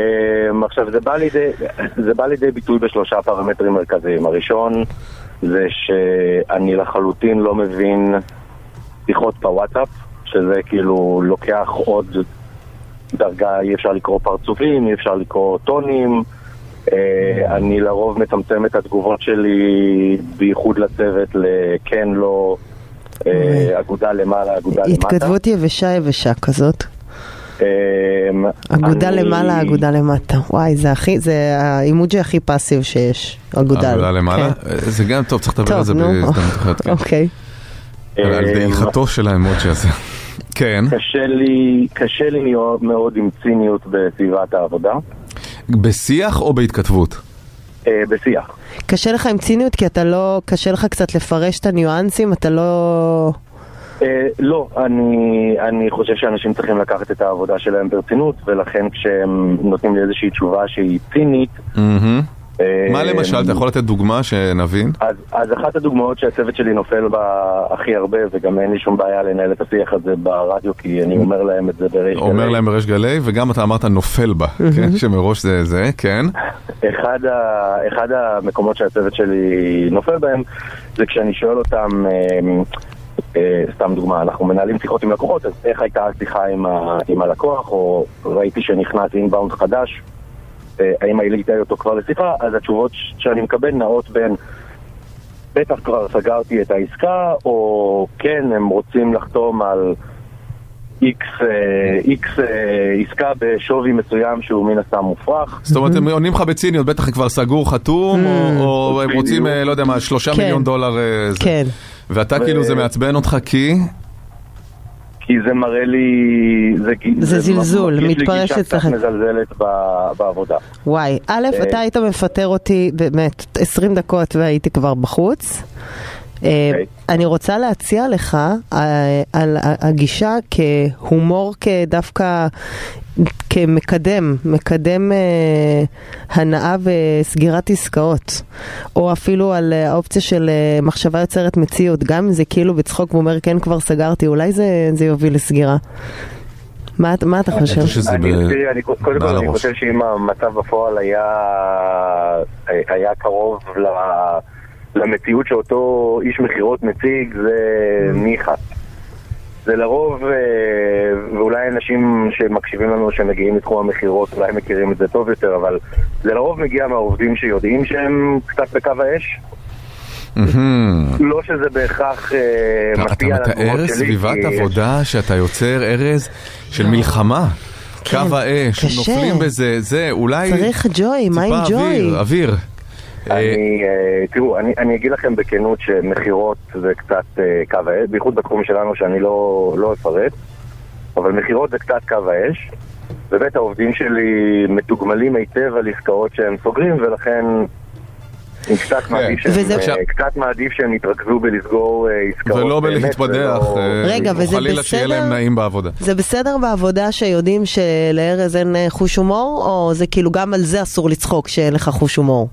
עכשיו, זה בא, לידי, זה בא לידי ביטוי בשלושה פרמטרים מרכזיים. הראשון זה שאני לחלוטין לא מבין שיחות בוואטסאפ, שזה כאילו לוקח עוד דרגה, אי אפשר לקרוא פרצופים, אי אפשר לקרוא טונים. אה, אני לרוב מצמצם את התגובות שלי, בייחוד לצוות, לכן, לא, אה, אגודה למעלה, אגודה למטה.
התכתבות יבשה יבשה כזאת.
אמ,
אגודה
אני-
למעלה, אגודה למטה. וואי, זה הכי, זה האימוג'י הכי פאסיב שיש. אגודה.
עבודה למעלה.
כן.
אה, זה גם טוב, צריך לדבר
טוב,
על זה
נו.
בהזדמנות אחרת. כן.
אוקיי.
על על דעיכתו של האמוג'י הזה. כן.
קשה לי, קשה לי מאוד- מאוד עם ציניות בסביבת העבודה,
בשיח או בהתכתבות?
אה, בשיח.
קשה לך עם ציניות כי אתה לא, קשה לך קצת לפרש את הניואנסים, אתה לא...
אה, לא, אני, אני חושב שאנשים צריכים לקחת את העבודה שלהם ברצינות, ולכן כשהם נותנים לי איזושהי תשובה שהיא צינית,
מהמם.
אה,
מה למשל, אתה יכול לתת דוגמה שנבין?
אז, אז אחת הדוגמאות שהצוות שלי נופל בה הכי הרבה, וגם אין לי שום בעיה לנהל את השיח הזה ברדיו, כי אני אומר להם את זה בריש
אומר
גלי.
להם בריש גלי, וגם אתה אמרת נופל בה,
Mm-hmm.
מהמם.
כן? שמראש זה זה, כן?
אחד, ה, אחד המקומות שהצוות שלי נופל בהם זה כשאני שואל אותם, אה, אה, סתם דוגמה, אנחנו מנהלים שיחות עם לקוחות, אז איך הייתה השיחה עם, ה, עם הלקוח, או ראיתי שנכנס אינבאונד חדש, אה, האם העלית אותו כבר לשיחה, אז התשובות ש- שאני מקבל נעות בין בטח כבר סגרתי את העסקה, או כן, הם רוצים לחתום על איקס אה, איקס, אה, עסקה בשווי מסוים שהוא מן הסתם מופרך.
זאת
Mm-hmm.
אומרת, הם עונים לך בציניות, בטח כבר סגור, חתום, או-
Mm.
או הם
בדיוק.
רוצים, אה, לא יודע מה, שלושה
כן.
מיליון דולר אה, זה.
כן.
ואתה
ו-
כאילו, זה מעצבן אותך
אה,
כי?
כי זה מראה לי... זה,
זה זלזול,
מרגיש לי
מתפרש
גישה
אצלכם.
קצת מזלזלת ב, בעבודה.
וואי, א',
אה.
אתה היית מפטר אותי באמת 20 דקות והייתי כבר בחוץ. אה, אני רוצה להציע לך אה, על ה- הגישה כהומור כדווקא כמקדם, מקדם אה, הנאה וסגירת עסקאות, או אפילו על אה, האופציה של אה, מחשבה יוצרת מציאות, גם אם זה כאילו בצחוק ואומר כן כבר סגרתי, אולי זה, זה יוביל לסגירה. מה, את- מה אתה חושב?
אני תראי, אני- קודם כל
מעל
אני
הראש.
חושב שאם המצב בפועל היה אה, היה קרוב ל- למציאות שאותו איש מכירות מציג, זה
Mm.
ניחא. זה לרוב, אה, ואולי אנשים שמקשיבים לנו שמגיעים מתחום המכירות אולי מכירים את זה טוב יותר, אבל זה לרוב מגיע מהעובדים שיודעים שהם קצת בקו האש. לא שזה בהכרח אה,
Mm-hmm. אתה
משפיע על התגובות
מתאר
שלי. אה,
סביבת
כי-
עבודה שאתה יוצר, ארז, של מלחמה. קו האש,
אה. כן. קשה.
נופלים בזה, זה, אולי...
צריך ג'וי, מה עם
טיפה
ג'וי?
אוויר, אוויר.
אני, אה, תראו, אני, אני אגיד לכם בכנות שמכירות זה קצת אה, קו האש, בייחוד בתחום שלנו שאני לא, לא אפרט, אבל מכירות זה קצת קו האש. באמת העובדים שלי מתוגמלים היטב על עסקאות שהם סוגרים, ולכן אני
כן.
קצת מעדיף שהם,
וזה-
אה, קצת מעדיף שהם יתרכזו בלסגור אה, עסקאות.
ולא
באמת,
בלהתפתח,
ולא-
אה,
רגע, וזה
או חלילה שיהיה
בסדר?
להם נעים בעבודה.
זה בסדר בעבודה שיודעים שלארז אין אה, חוש הומור, או זה כאילו גם על זה אסור לצחוק שאין לך חוש הומור?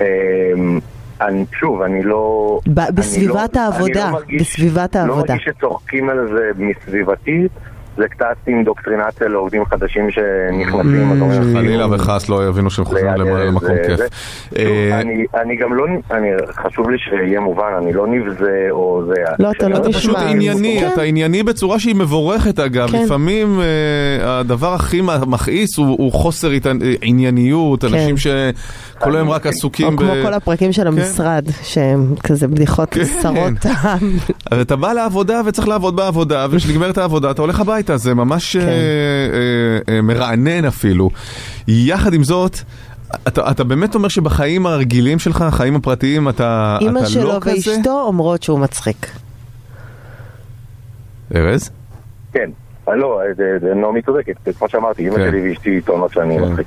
אמ, אני, שוב, אני לא...
ב-
אני
בסביבת
לא-
העבודה,
אני לא מרגיש,
בסביבת
לא
העבודה.
מרגיש שצוחקים על זה מסביבתי, זה קצת אינדוקטרינציה לעובדים חדשים שנכנסים.
Mm,
אז אומרים,
חלילה וחס לא יבינו שהם חוזרים למ-
כאילו, "אה,
למקום
זה-
כיף.
זה". שוב,
אה,
אני- אני גם לא, אני, חשוב לי שיהיה מובן, אני לא נבזה או זה...
לא,
אתה פשוט ענייני,
כן.
אתה ענייני בצורה שהיא מבורכת אגב.
כן.
לפעמים אה, הדבר הכי מ- מכעיס הוא הוא חוסר עניין- ענייניות, אנשים שכל היום רק עסוקים
כן. או
כן, ב... כן.
כמו כל הפרקים של המשרד, שהם כזה בדיחות צרות
אה,
טעם.
אבל אתה בא לעבודה וצריך לעבוד בעבודה, וכשנגמרת העבודה אתה הולך הביתה, זה ממש
כן.
אה, אה, אה, מרענן אפילו. יחד עם זאת... אתה, אתה באמת אומר שבחיים הרגילים שלך, החיים הפרטיים, אתה, אתה
אימא
לא
שלו
כזה?
ואשתו אומרות שהוא מצחיק.
ארז?
כן. אה, לא, זה- זה- נעמי צודקת, כמו שאמרתי,
כן.
אמא שלי ואשתי טוענות שאני מצחיק.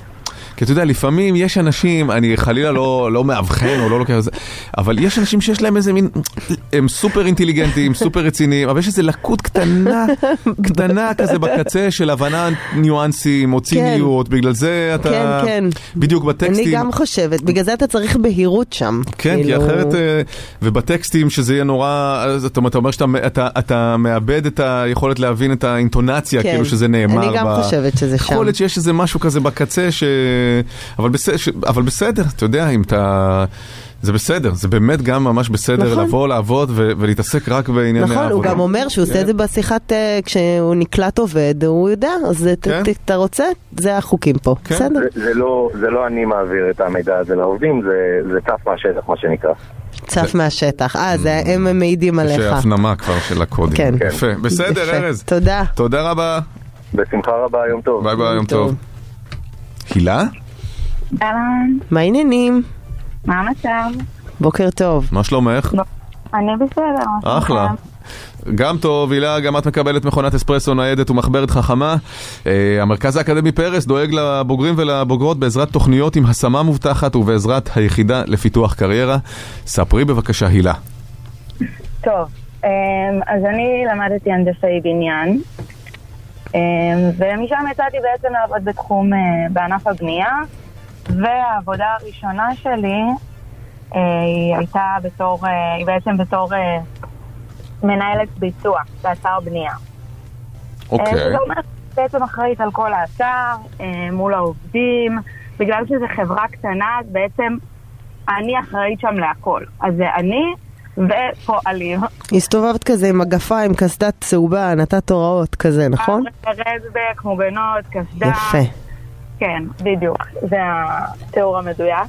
כי אתה יודע, לפעמים יש אנשים, אני חלילה לא, לא מאבחן או לא לוקח את זה, אבל יש אנשים שיש להם איזה מין, הם סופר אינטליגנטים, סופר רציניים, אבל יש איזה לקות
אה.
קטנה, קטנה כזה בקצה של הבנה ניואנסים או ציניות, בגלל זה אתה...
כן, כן.
בדיוק בטקסטים.
אני גם חושבת, בגלל זה אתה צריך בהירות שם.
כן, כי
כאילו-
אחרת, אה, ובטקסטים שזה יהיה נורא, אז אתה אתה אומר שאתה אתה- אתה מאבד את היכולת להבין את האינטונציה,
כן.
כאילו שזה נאמר.
אני גם
ב-
חושבת שזה שם.
יכול להיות שיש איזה משהו כזה בקצה, ש... אבל, בס... ש... אבל בסדר, אתה יודע, אם אתה... זה בסדר, זה באמת גם ממש בסדר
נכון.
לבוא, לעבוד ו... ולהתעסק רק בענייני העבודה. כן.
נכון, הוא גם אומר שהוא עושה את זה בשיחת, אה, כשהוא נקלט עובד, הוא יודע, אז ת-
כן.
ת- אתה רוצה, זה החוקים פה,
כן.
בסדר?
זה- זה לא- זה לא אני מעביר את המידע הזה לעובדים, זה- זה צף מהשטח, מה שנקרא.
צף מהשטח. אה, זה הם מעידים
כן. Mm. יש
עליך.
כן. הפנמה כבר של הקודים.
כן.
יפה, בסדר,
יפה.
ארז.
תודה.
תודה רבה.
בשמחה רבה, יום טוב.
ביי ביי, יום
טוב.
טוב. הילה?
אהלן,
מה העניינים?
מה המצב?
בוקר טוב.
מה שלומך?
אני בסדר.
אה.
מה
אחלה.
שלומך?
גם טוב, הילה, גם את מקבלת מכונת אספרסו ניידת ומחברת חכמה. אה, המרכז האקדמי פרס דואג לבוגרים ולבוגרות בעזרת תוכניות עם השמה מובטחת ובעזרת היחידה לפיתוח קריירה. ספרי בבקשה, הילה.
טוב, אמ, אז אני למדתי הנדסאי בניין, אמ, ומשם יצאתי בעצם לעבוד בתחום, אה, בענף הבנייה, והעבודה הראשונה שלי אה, היא הייתה בתור, אה, היא בעצם בתור אה, מנהלת ביצוע באתר בנייה.
אוקיי.
אה, זאת אומרת, בעצם אחראית על כל האתר, אה, מול העובדים, בגלל שזו חברה קטנה, אז בעצם אני אחראית שם להכל. אז זה אני ופועלים.
הסתובבת כזה עם מגפיים, קסדת צהובה, נתת הוראות כזה, נכון?
אה,
רדבק, מוגנות, קסדה.
יפה.
כן, בדיוק. זה התיאור המדויק.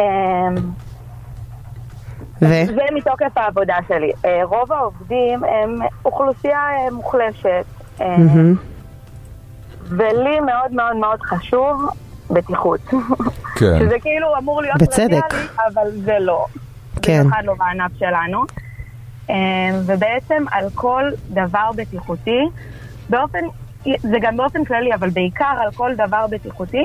אה,
ו?
זה מתוקף העבודה שלי. אה, רוב העובדים הם אוכלוסייה אה, מוחלשת, אה,
מהמם.
ולי מאוד מאוד מאוד חשוב בטיחות.
כן.
שזה כאילו אמור להיות
בצדק.
טריוויאלי, אבל זה לא.
כן.
במיוחד לא בענף שלנו. אה, ובעצם על כל דבר בטיחותי, באופן, זה גם באופן כללי, אבל בעיקר על כל דבר בטיחותי,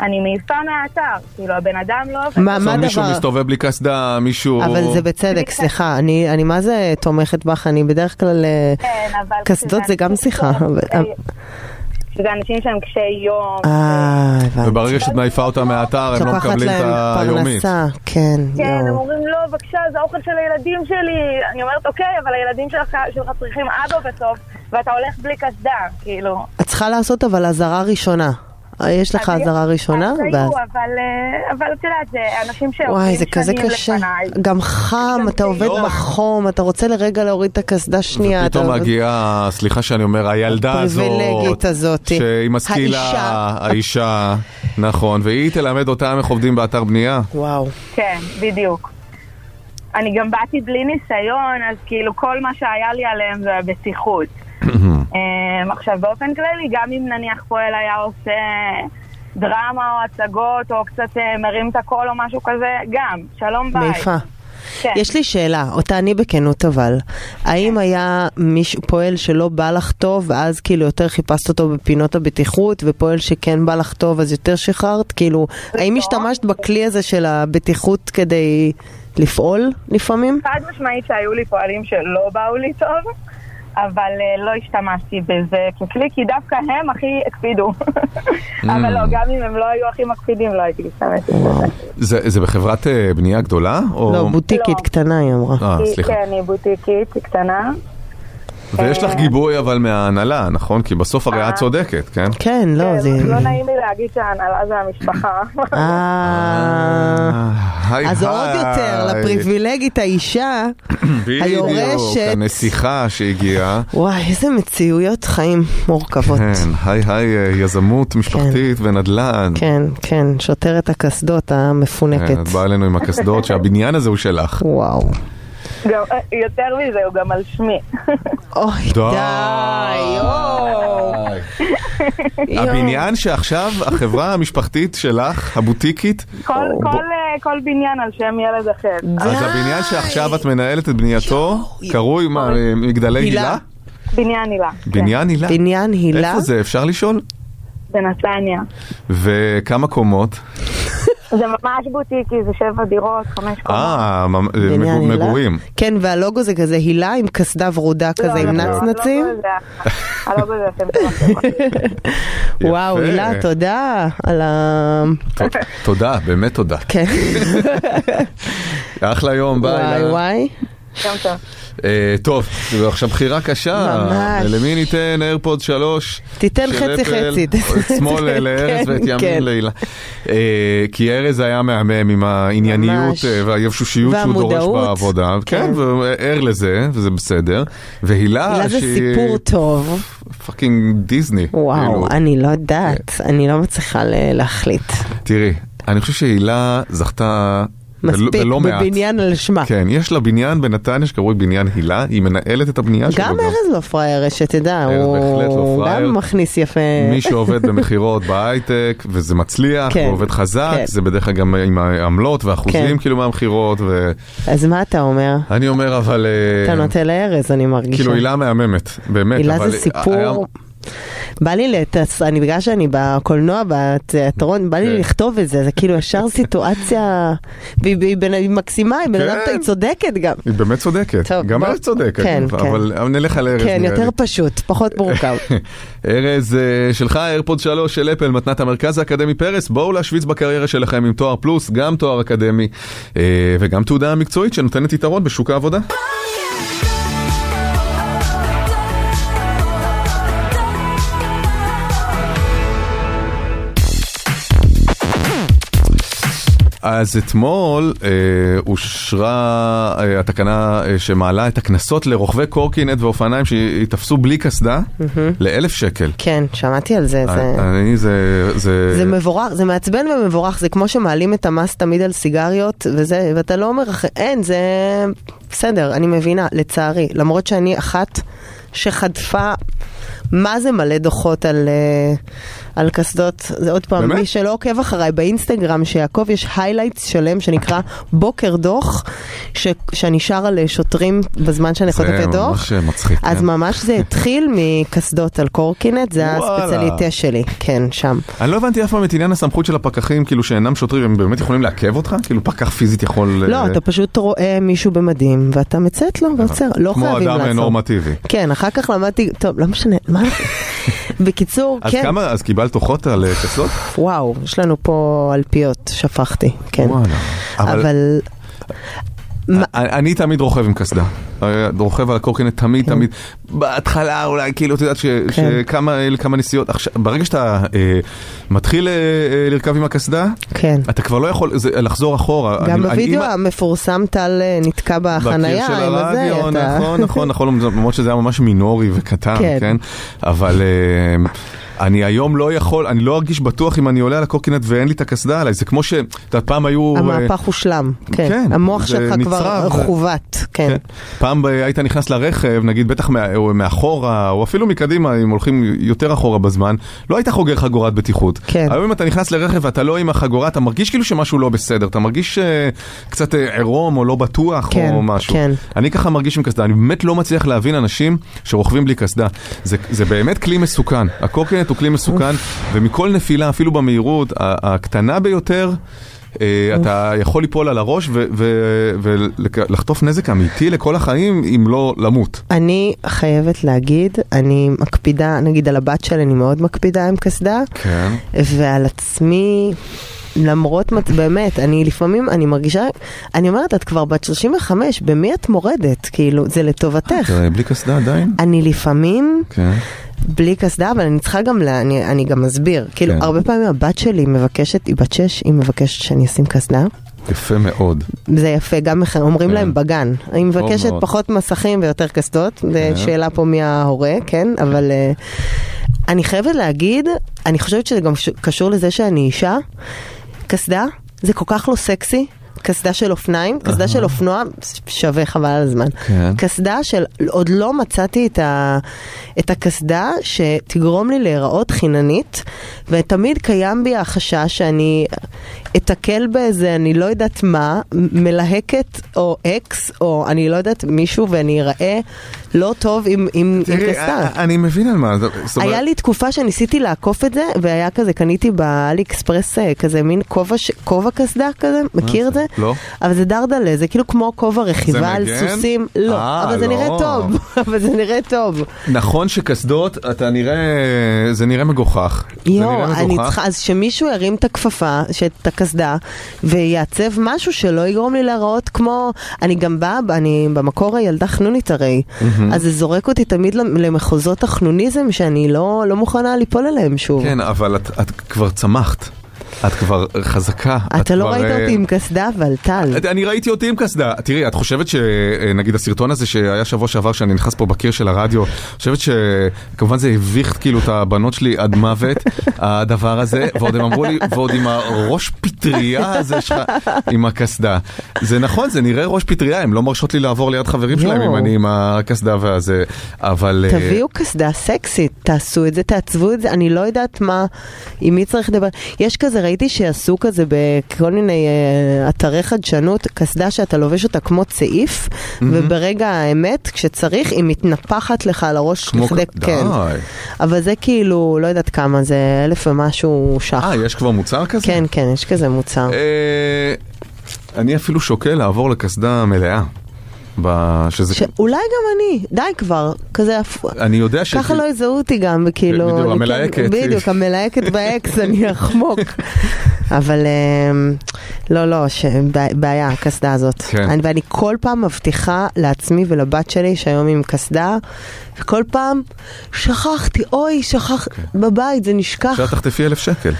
אני מעיפה מהאתר, כאילו הבן אדם לא עובד.
מה- מה
בסוף מישהו
הדבר-
מסתובב בלי קסדה, מישהו...
אבל זה
כן.
בצדק, סליחה, אני, אני מה זה תומכת בך, אני בדרך כלל, אה,
כן, אבל
קסדות זה גם שיחה. אבל-
שזה אנשים שהם קשי יום.
אה, הבנתי.
וברגע שאת מעיפה אותם מהאתר, הם לא
לוקחת
מקבלים את
להם
היומית.
פרנסה, כן,
כן, הם
יואו.
אומרים, לא, בבקשה, זה האוכל של הילדים שלי. אני אומרת, אוקיי, אבל הילדים שלך, שלך צריכים אבא בסוף, ואתה הולך בלי קסדה, כאילו.
את צריכה לעשות אבל אזהרה ראשונה. אה, יש לך אזהרה ראשונה,
אז היו,
ואז...
אבל, אה, אבל את יודעת, זה אנשים
וואי,
שעובדים
זה כזה
שנים
קשה.
לפניי.
גם חם, אתה עובד בחום, אתה רוצה לרגע להוריד את הקסדה שנייה.
פתאום
אתה-
מגיעה, סליחה שאני אומר, הילדה הזאת,
הפריבילגית הזאת.
שהיא משכילה,
האישה.
האישה, נכון, והיא תלמד אותם איך עובדים באתר בנייה.
וואו.
כן, בדיוק. אני גם באתי בלי ניסיון, אז כאילו כל מה שהיה לי עליהם זה הבטיחות. אמ, עכשיו, באופן כללי, גם אם נניח פועל היה עושה דרמה או הצגות, או קצת אה, מרים את הקול או משהו כזה, גם, שלום ביי.
מעיפה.
כן.
יש לי שאלה, אותה אני בכנות אבל, האם היה מישהו, פועל שלא בא לך טוב ואז כאילו יותר חיפשת אותו בפינות הבטיחות ופועל שכן בא לך טוב אז יותר שחררת? כאילו,
לא.
האם השתמשת בכלי הזה של הבטיחות כדי לפעול לפעמים?
חד משמעית שהיו לי פועלים שלא באו לי טוב, אבל אה, לא השתמשתי בזה ככלי, כי דווקא הם הכי הקפידו.
Mm.
אבל לא, גם אם הם לא היו הכי מקפידים, לא הייתי משתמשת בזה.
זה זה בחברת אה, בנייה גדולה? או-
לא, בוטיקית קטנה היא אמרה.
אה,
היא-
סליחה. Mm.
כן, היא בוטיקית, היא קטנה.
ויש לך גיבוי אבל מההנהלה, נכון? כי בסוף הרי את צודקת, כן?
כן, לא, זה...
אה. לא נעים לי להגיד שההנהלה זה המשפחה.
אה.
אה, היי,
אז עוד
היי.
יותר, לפריבילגית האישה,
בדיוק,
היורשת.
הנסיכה שהגיעה.
וואי, איזה מציאויות חיים מורכבות.
כן, היי היי, אה, יזמות משפחתית ונדל"ן.
כן, כן, שוטרת הקסדות המפונקת.
כן, את באה אלינו עם הקסדות שהבניין הזה הוא שלך.
וואו.
גם- אה, יותר מזה, הוא גם על שמי.
אוי,
די,
יואו.
הבניין שעכשיו החברה המשפחתית שלך, הבוטיקית,
כל- כל, אה, כל בניין על שם ילד אחר.
אז הבניין שעכשיו את מנהלת את בנייתו, קרוי מה, אה, מגדלי
הילה.
הילה?
בניין הילה.
בניין הילה?
כן. בניין הילה?
איפה זה, אפשר לשאול?
בנתניה.
וכמה קומות?
זה ממש בוטיקי, זה שבע דירות, חמש
אה, ממ-
בניין
מגו-
הילה?
מגורים.
כן, והלוגו זה כזה הילה עם קסדה ורודה כזה עם נצנצים.
הלוגו זה אתם
וואו, הילה, תודה על ה...
תודה, באמת תודה.
כן.
אחלה יום, ביי.
וואי
הילה.
וואי.
אה, טוב, זו עכשיו בחירה קשה.
ממש.
למי ניתן איירפוד 3?
תיתן חצי חצי, תיתן
שמאל
חצי,
לארז
כן,
ואת
כן.
ימין להילה. אה, כי ארז היה מהמם עם הענייניות
ממש.
אה, והיבשושיות שהוא דורש
והמודעות.
בעבודה. כן, והוא ער לזה, וזה בסדר. והילה,
הילה זה
שהיא
סיפור טוב.
פאקינג דיסני. כאילו. כן.
וואו, אני לא יודעת, אני לא מצליחה ל- להחליט.
תראי, אני חושב שהילה זכתה... בל-
מספיק,
בלא לא- מעט.
בבניין על שמה.
כן, יש לה בניין בנתניה שקרוי בניין הילה, היא מנהלת את הבנייה שלו.
גם ארז לא פראייר, שתדע,
ארז בהחלט לא
הוא
פראייר.
גם מכניס יפה.
מי שעובד במכירות בהייטק, וזה מצליח,
כן,
ועובד חזק,
כן.
זה בדרך כלל גם עם העמלות
כן.
והאחוזים כאילו מהמכירות, ואני
אז מה אתה אומר?
אומר אבל, אה,
אתה נוטה לארז, אני מרגישה.
כאילו הילה מהממת, באמת,
הילה
אבל אה,
זה
היה-
סיפור... בא לי, לתס... אני בגלל שאני בקולנוע, בתיאטרון,
כן.
בא לי לכתוב את זה, זה כאילו ישר סיטואציה, והיא- והיא בן- היא מקסימה, היא בן אדם,
כן.
היא צודקת גם.
היא באמת צודקת,
טוב,
גם
בוא-
ארז צודק,
כן,
אבל-
כן.
אבל אבל נלך על ארז
כן,
נראה
יותר
לי.
פשוט, פחות מורכב.
ארז אה, שלך, איירפוד 3 של אפל, מתנת המרכז האקדמי פרס, בואו להשוויץ בקריירה שלכם עם תואר פלוס, גם תואר אקדמי אה, וגם תעודה מקצועית שנותנת יתרון בשוק העבודה. אז אתמול אה, אושרה אה, התקנה אה, שמעלה את הקנסות לרוכבי קורקינט ואופניים שייתפסו בלי קסדה לאלף שקל.
כן, שמעתי על זה,
אה,
זה...
אני זה... זה...
אה, זה מבורך, זה מעצבן ומבורך, זה כמו שמעלים את המס תמיד על סיגריות, וזה, ואתה לא אומר, "אח- אין, זה בסדר, אני מבינה, לצערי, למרות שאני אחת שחטפה מה זה מלא דוחות על, אה, על קסדות? זה עוד פעם,
באמת?
מי שלא עוקב אחריי באינסטגרם, שיעקב, יש היילייטס שלם שנקרא בוקר דוח, ש, שאני שרה לשוטרים בזמן שאני חוטפת
זה
דוח.
כן, ממש מצחיק.
אז
כן.
ממש זה התחיל מקסדות על קורקינט, זה
וואלה.
הספציאליטה שלי, כן, שם.
אני לא הבנתי אף פעם את עניין הסמכות של הפקחים, כאילו שאינם שוטרים, הם באמת יכולים לעכב אותך? כאילו פקח פיזית יכול...
לא,
אה,
אתה פשוט רואה מישהו במדים, ואתה מציית לו ועוצר, לא חייבים
כמו
לעשות.
אדם אה, נורמטיבי.
כן, אחר כך למדתי, טוב, לא משנה, מה? בקיצור,
אז
כן.
כמה, אז קיבלת דוחות על אה, קסדות?
וואו, יש לנו פה אלפיות, שפכתי, כן.
וואלה. אבל-
אבל...
אני- אה, אני תמיד רוכב עם קסדה. אה, רוכב על הקורקינט תמיד
כן.
תמיד. בהתחלה אולי כאילו, את יודעת ש- שכמה אה, כמה נסיעות. עכשיו, ברגע שאתה אה, מתחיל אה, אה, לרכב עם הקסדה,
כן.
אתה כבר לא יכול זה- לחזור אחורה.
גם
אני- אני-
בווידאו
אם-
המפורסם טל אה, נתקע בחנייה,
בקיר של
עם הזה,
הרדיו,
אתה...
נכון, נכון, נכון, למרות שזה היה ממש מינורי וקטן,
כן.
כן? אבל אמ, אני היום לא יכול, אני לא ארגיש בטוח אם אני עולה על הקורקינט ואין לי את הקסדה עליי, זה כמו ש... אתה יודע, פעם היו... אה,
המהפך הושלם, כן.
כן,
המוח
זה
שלך כבר
נצרב.
חוות, כן.
פעם אה, היית נכנס לרכב, נגיד בטח מה- או מאחורה, או אפילו מקדימה, אם הולכים יותר אחורה בזמן, לא היית חוגר חגורת בטיחות.
כן.
היום אם אתה נכנס לרכב ואתה לא עם החגורה, אתה מרגיש כאילו שמשהו לא בסדר, אתה מרגיש אה, קצת אה, עירום או לא בטוח
כן,
או משהו.
כן.
אני ככה מרגיש עם קסדה, אני באמת לא מצליח להבין אנשים שרוכבים בלי קסדה. זה, זה באמת כלי מסוכן, הקורקינט הוא כלי מסוכן, ומכל נפילה, אפילו במהירות ה- הקטנה ביותר, אה, אתה יכול ליפול על הראש ו- ו- ולחטוף נזק אמיתי לכל החיים, אם לא למות.
אני חייבת להגיד, אני מקפידה, נגיד על הבת שלי אני מאוד מקפידה עם קסדה,
כן.
ועל עצמי, למרות, מצ- באמת, אני לפעמים, אני מרגישה, אני אומרת, את כבר בת 35, במי את מורדת? כאילו, זה לטובתך.
אה, בלי קסדה עדיין?
אני לפעמים...
כן.
בלי קסדה, אבל אני צריכה גם, לה, אני, אני גם אסביר. כאילו,
כן.
הרבה פעמים הבת שלי מבקשת, היא בת שש, היא מבקשת שאני אשים קסדה.
יפה מאוד.
זה יפה, גם איך- אומרים
כן.
להם בגן. היא
טוב
מבקשת
מאוד.
פחות מסכים ויותר קסדות, זו
כן.
שאלה פה מי ההורה, כן? אבל אה, אני חייבת להגיד, אני חושבת שזה גם ש- קשור לזה שאני אישה. קסדה זה כל כך לא סקסי. קסדה של אופניים, קסדה של אופנוע, שווה חבל על הזמן.
כן.
קסדה של, עוד לא מצאתי את, ה, את הקסדה שתגרום לי להיראות חיננית, ותמיד קיים בי החשש שאני אתקל באיזה, אני לא יודעת מה, מ- מלהקת או אקס, או אני לא יודעת מישהו, ואני אראה לא טוב עם, עם, עם
תראי,
קסדה.
אה, אני מבין על מה, זאת אומרת...
היה לי תקופה שניסיתי לעקוף את זה, והיה כזה, קניתי באלי אקספרס אה, כזה מין כובע, ש- כובע קסדה כזה, מכיר את זה?
לא.
אבל זה דרדלה, זה כאילו כמו כובע
זה
רכיבה על
מגן?
סוסים. לא,
אה,
אבל זה
לא.
נראה טוב, אבל זה נראה טוב.
נכון שקסדות, אתה נראה, זה נראה מגוחך. זה
יואו,
נראה
אני
מגוחך.
צריכה, אז שמישהו ירים את הכפפה, ש- את הקסדה, ויעצב משהו שלא יגרום לי להיראות כמו... אני גם באה, אני במקור הילדה חנונית הרי,
מהמם.
אז זה זורק אותי תמיד למחוזות החנוניזם שאני לא לא מוכנה ליפול אליהם שוב.
כן, אבל את, את כבר צמחת. את כבר חזקה. את
אתה לא
כבר,
ראית
אה,
אותי עם קסדה, אבל טל.
את- אני ראיתי אותי עם קסדה. תראי, את חושבת שנגיד הסרטון הזה שהיה שבוע שעבר, שאני נכנס פה בקיר של הרדיו, את חושבת שכמובן זה הביך כאילו את הבנות שלי עד מוות, הדבר הזה, ועוד הם אמרו לי, ועוד עם הראש פטריה הזה שלך, עם הקסדה. זה נכון, זה נראה ראש פטריה, הן לא מרשות לי לעבור ליד חברים שלהם
יואו.
אם אני עם הקסדה והזה, אבל... אה,
תביאו קסדה סקסית, תעשו את זה, תעצבו את זה, אני לא יודעת מה, עם מי צריך לדבר. יש כזה, ראיתי שעשו כזה בכל מיני אה, אתרי חדשנות, קסדה שאתה לובש אותה כמו צעיף, וברגע האמת, כשצריך, היא מתנפחת לך על הראש
כמו
לכדי
ק-
כן.
די.
אבל זה כאילו, לא יודעת כמה, זה אלף ומשהו שח.
אה, יש כבר מוצר כזה?
כן, כן, יש כזה מוצר.
אה, אני אפילו שוקל לעבור לקסדה מלאה. ב- שזה...
אולי גם אני, די כבר, כזה אפ-
אני יודע ש...
ככה לא יזהו אותי גם, וכאילו...
בדיוק,
אני כן-
המלהקת.
בדיוק, המלהקת באקס, אני אחמוק. אבל אמ, לא, לא, ש- בע- בעיה, הקסדה הזאת.
כן.
אני- ואני כל פעם מבטיחה לעצמי ולבת שלי שהיום היא עם קסדה, וכל פעם שכחתי, אוי, שכחתי,
כן.
בבית, זה נשכח.
עכשיו תחטפי אלף שקל.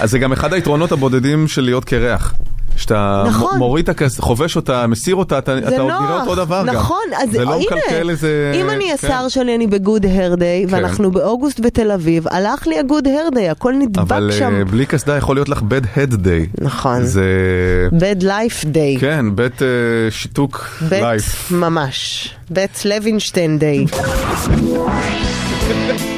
אז זה גם אחד היתרונות הבודדים של להיות קרח. שאתה
נכון.
מ- מוריד את הכס, חובש אותה, מסיר אותה, אתה,
זה
אתה עוד
נוח.
נראה אותו דבר גם.
נכון, אז
זה לא
הנה,
מקלקל איזה...
אם אני
כן.
השיער שלי, אני בגוד הר דיי,
כן.
ואנחנו באוגוסט בתל אביב, הלך לי הגוד הר דיי, הכל
אבל
נדבק
אה,
שם.
בלי קסדה יכול להיות לך bad head day.
נכון.
זה...
bad life day.
כן, bad אה, שיתוק
בית
life.
ממש, בית לוינשטיין דיי.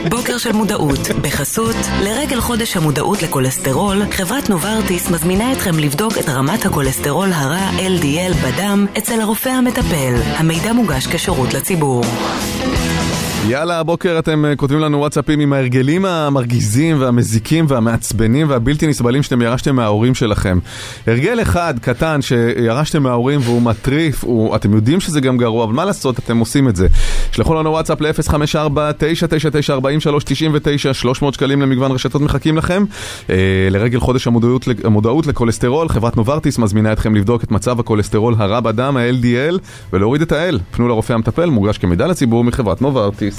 בוקר של מודעות, בחסות, לרגל חודש המודעות לכולסטרול, חברת נוברטיס מזמינה אתכם לבדוק את רמת הכולסטרול הרע LDL בדם אצל הרופא המטפל. המידע מוגש כשירות לציבור.
יאללה, הבוקר אתם אה, כותבים לנו וואטסאפים עם ההרגלים המרגיזים והמזיקים והמעצבנים והבלתי נסבלים שאתם ירשתם מההורים שלכם. הרגל אחד קטן שירשתם מההורים והוא מטריף, הוא, אתם יודעים שזה גם גרוע, אבל מה לעשות, אתם עושים את זה. שלחו לנו וואטסאפ ל-054-999-4399, 300 שקלים למגוון רשתות מחכים לכם. אה, לרגל חודש המודעות, המודעות לכולסטרול, חברת נוברטיס מזמינה אתכם לבדוק את מצב הכולסטרול הרע בדם, ה-LDL, ולהוריד את ה-L. פנו לרופא המטפל, מוגש כמידע לציבור מחברת נוברטיס.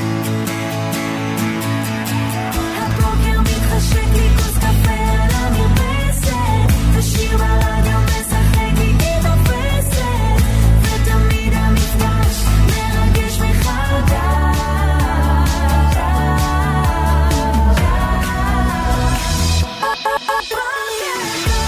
הבוקר מתחשק לי כוס קפה על המרפסת, ושיר בלד המשחק לי את הרפסת, ותמיד המפגש מרגש מחדש.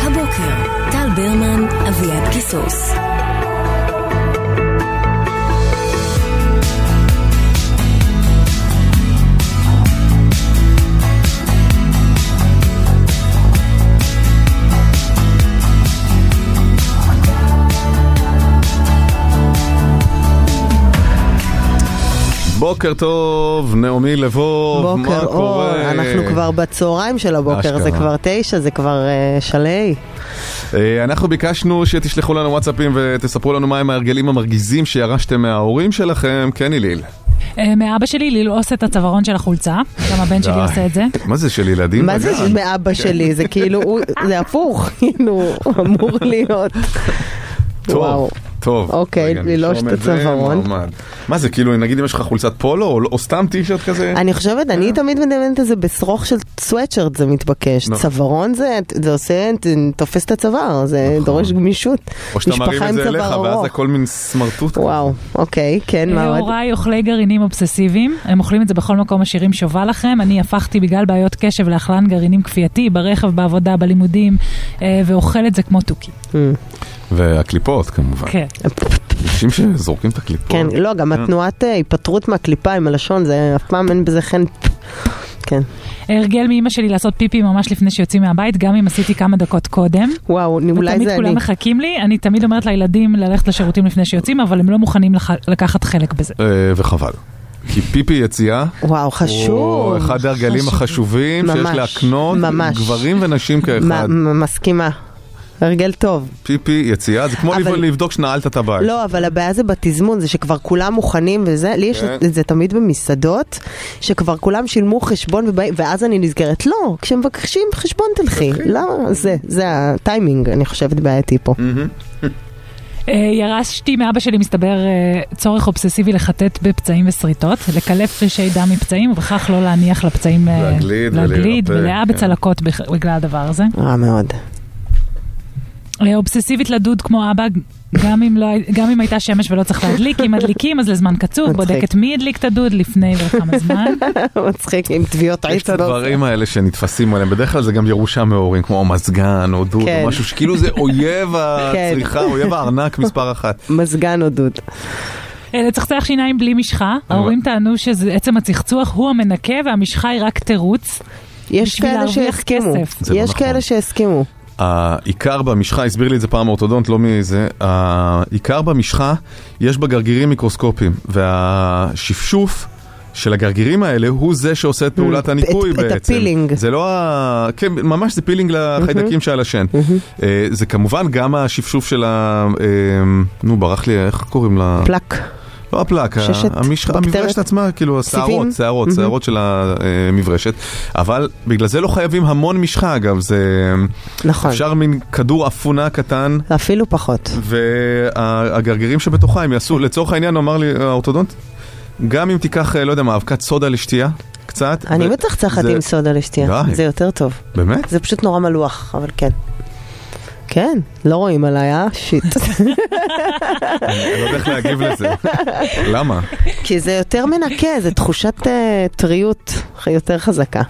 הבוקר, טל ברמן, אביעד קיסוס.
בוקר טוב, נעמי לבוב, מה
בוקר אור,
קורה?
אנחנו כבר בצהריים של הבוקר, זה
אשכרה.
כבר תשע, זה כבר אה, שלהי.
אה, אנחנו ביקשנו שתשלחו לנו וואטסאפים ותספרו לנו מהם ההרגלים המרגיזים שירשתם מההורים שלכם, כן איליל.
אה, מאבא שלי ללעוס את הצווארון של החולצה, גם הבן שלי
די.
עושה את זה.
מה זה של ילדים?
מה זה
בגן?
מאבא
כן.
שלי? זה כאילו, הוא- זה הפוך, כאילו, הוא אמור להיות.
טוב, טוב.
אוקיי,
רגע,
ללעוש
נרשום
את
זה,
הצווארון.
מועמד. מה זה, כאילו, נגיד אם יש לך חולצת פולו או- או סתם טישרט כזה?
אני חושבת,
כן.
אני תמיד מדמיינת את זה בשרוך של סוואצ'רט זה מתבקש.
נכון.
צווארון זה, זה עושה, זה תופס את הצוואר, זה דורש גמישות.
נכון. או שאתה מרים
משפחה
את
עם
זה אליך,
צוואר
ואז
ארוך.
הכל מין סמרטוט.
וואו, אוקיי, כן, מה עוד?
להוריי אוכלי גרעינים אובססיביים, הם אוכלים את זה בכל מקום השירים שובה לכם. אני הפכתי בגלל בעיות קשב לאכלן גרעינים כפייתי, ברכב, בעבודה, בלימודים, אה, ואוכל את זה כמו תוכי.
Mm.
והקליפות כמובן.
כן.
אנשים שזורקים את הקליפות.
כן, לא, גם התנועת אה, היפטרות מהקליפה עם הלשון, זה אף פעם אין בזה חן. כן.
הרגל מאימא שלי לעשות פיפי ממש לפני שיוצאים מהבית, גם אם עשיתי כמה דקות קודם.
וואו, אולי זה
ותמיד
אני.
כולם מחכים לי, אני תמיד אומרת לילדים ללכת לשירותים לפני שיוצאים, אבל הם לא מוכנים לח- לקחת חלק בזה.
אה, וחבל. כי פיפי יציאה,
וואו, חשוב.
הוא אחד ההרגלים
חשוב.
החשובים שיש
ממש,
להקנות,
ממש.
גברים ונשים כאחד.
מ- מ- מסכימה. הרגל טוב.
פיפי יציאה, זה כמו
אבל-
לבדוק שנעלת את הבית.
לא, אבל הבעיה זה בתזמון, זה שכבר כולם מוכנים וזה, לי יש
כן.
את זה תמיד במסעדות, שכבר כולם שילמו חשבון ובאים, ואז אני נזכרת, לא, כשמבקשים חשבון תלכי, למה? זה, זה הטיימינג, אני חושבת, בעייתי פה.
אה, ירשתי מאבא שלי, מסתבר, אה, צורך אובססיבי לחטט בפצעים וסריטות, לקלף קרישי דם מפצעים, ובכך לא להניח לפצעים אה,
להגליד
להגליד
ולהירפא,
מלאה
כן.
בצלקות בכ- בגלל הדבר הזה.
רע מאוד.
אה, אובססיבית לדוד כמו אבא, גם אם, לא, הי- גם אם הייתה שמש ולא צריך להדליק, אם מדליקים אז לזמן קצוב,
מצחיק.
בודקת מי הדליק את הדוד לפני ולכמה זמן.
מצחיק, עם טביעות
יש
עץ.
את הדברים האלה שנתפסים עליהם, בדרך כלל זה גם ירושה מהורים, כמו מזגן או דוד,
כן.
או משהו שכאילו זה אויב הצריכה, אויב הארנק מספר אחת.
מזגן או דוד.
אה, לצחצח שיניים בלי משחה, ההורים טענו שעצם הצחצוח הוא המנקה והמשחה היא רק תירוץ.
יש
בשביל
כאלה
להרוויח
שהסכימו,
כסף.
זה לא
יש
נכון.
כאלה שהסכימו.
העיקר במשחה, הסביר לי את זה פעם אורתודונט, לא מזה, העיקר במשחה, יש בה גרגירים מיקרוסקופיים, והשפשוף של הגרגירים האלה הוא זה שעושה את פעולת הניקוי
Mm, את
בעצם.
הפילינג. Mm-hmm.
זה לא ה... כן, ממש זה פילינג לחיידקים שעל השן. אה, זה כמובן גם השפשוף של ה... אה, נו, ברח לי, איך קוראים לה?
פלק.
לא הפלק, ה-
ששת,
המשחה- המברשת
בקטרת,
עצמה, כאילו השערות,
סיבים.
שערות,
מהמם.
שערות של המברשת, אבל בגלל זה לא חייבים המון משחה אגב, זה...
נכון.
אפשר מין כדור אפונה קטן.
אפילו פחות.
והגרגירים שבתוכה הם יעשו, לצורך העניין אמר לי האורתודונט, גם אם תיקח, אה, לא יודע מה, אבקת סודה לשתייה, קצת.
אני
ו-
מצחצחת
זה-
עם סודה לשתייה,
די.
זה יותר טוב.
באמת?
זה פשוט נורא מלוח, אבל כן. כן, לא רואים עליי, אה? שיט.
אני לא יודע איך להגיב לזה. למה?
כי זה יותר מנקה, זה תחושת אה, טריות יותר חזקה.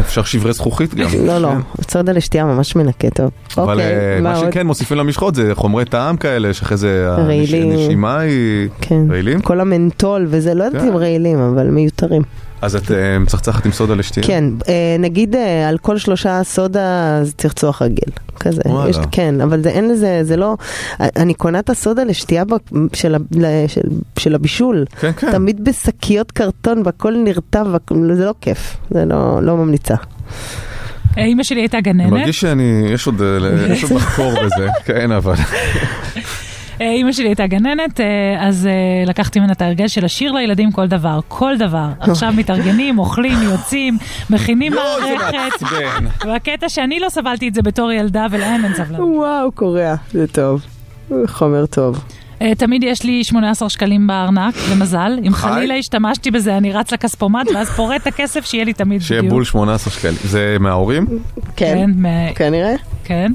אפשר שברי זכוכית גם. כן.
לא, לא, סודה לשתייה ממש מנקה טוב.
אבל
אוקיי,
אה,
מה
מה
עוד?
שכן מוסיפים למשחות זה חומרי טעם כאלה, שאחרי זה הנש-
רעילים. כן.
הנשימה היא... רעילים?
כל המנטול וזה, לא
כן.
יודעת אם רעילים, אבל מיותרים.
אז את אה, מצחצחת עם סודה לשתייה?
כן, אה, נגיד אה, על כל שלושה סודה, אז תרצוח רגיל. כזה.
וואלה.
יש, כן, אבל זה, אין לזה, זה לא... אני קונה את הסודה לשתייה בק- של, ה- ל- של, של הבישול.
כן, כן.
תמיד בשקיות קרטון, והכל נרטב, והכל- זה לא כיף. זה לא, לא ממליצה.
אה, אימא שלי הייתה
אני
גננת.
מרגיש שאני, יש עוד אה, יש עוד לחקור בזה, כן אבל.
אה, אימא שלי הייתה גננת, אה, אז אה, לקחתי ממנה את ההרגל של השיר לילדים כל דבר, כל דבר. עכשיו מתארגנים, אוכלים, יוצאים, מכינים מערכת. והקטע שאני לא סבלתי את זה בתור ילדה, ולהם אין סבלנות.
וואו, קורע, זה טוב. חומר טוב.
אה, תמיד יש לי 18 שקלים בארנק, למזל. אם
היי.
חלילה השתמשתי בזה, אני רץ לכספומט, ואז פורט את הכסף, שיהיה לי תמיד
שיהיה
בדיוק.
בול 18 שקלים. זה מההורים?
כן,
כנראה.
כן.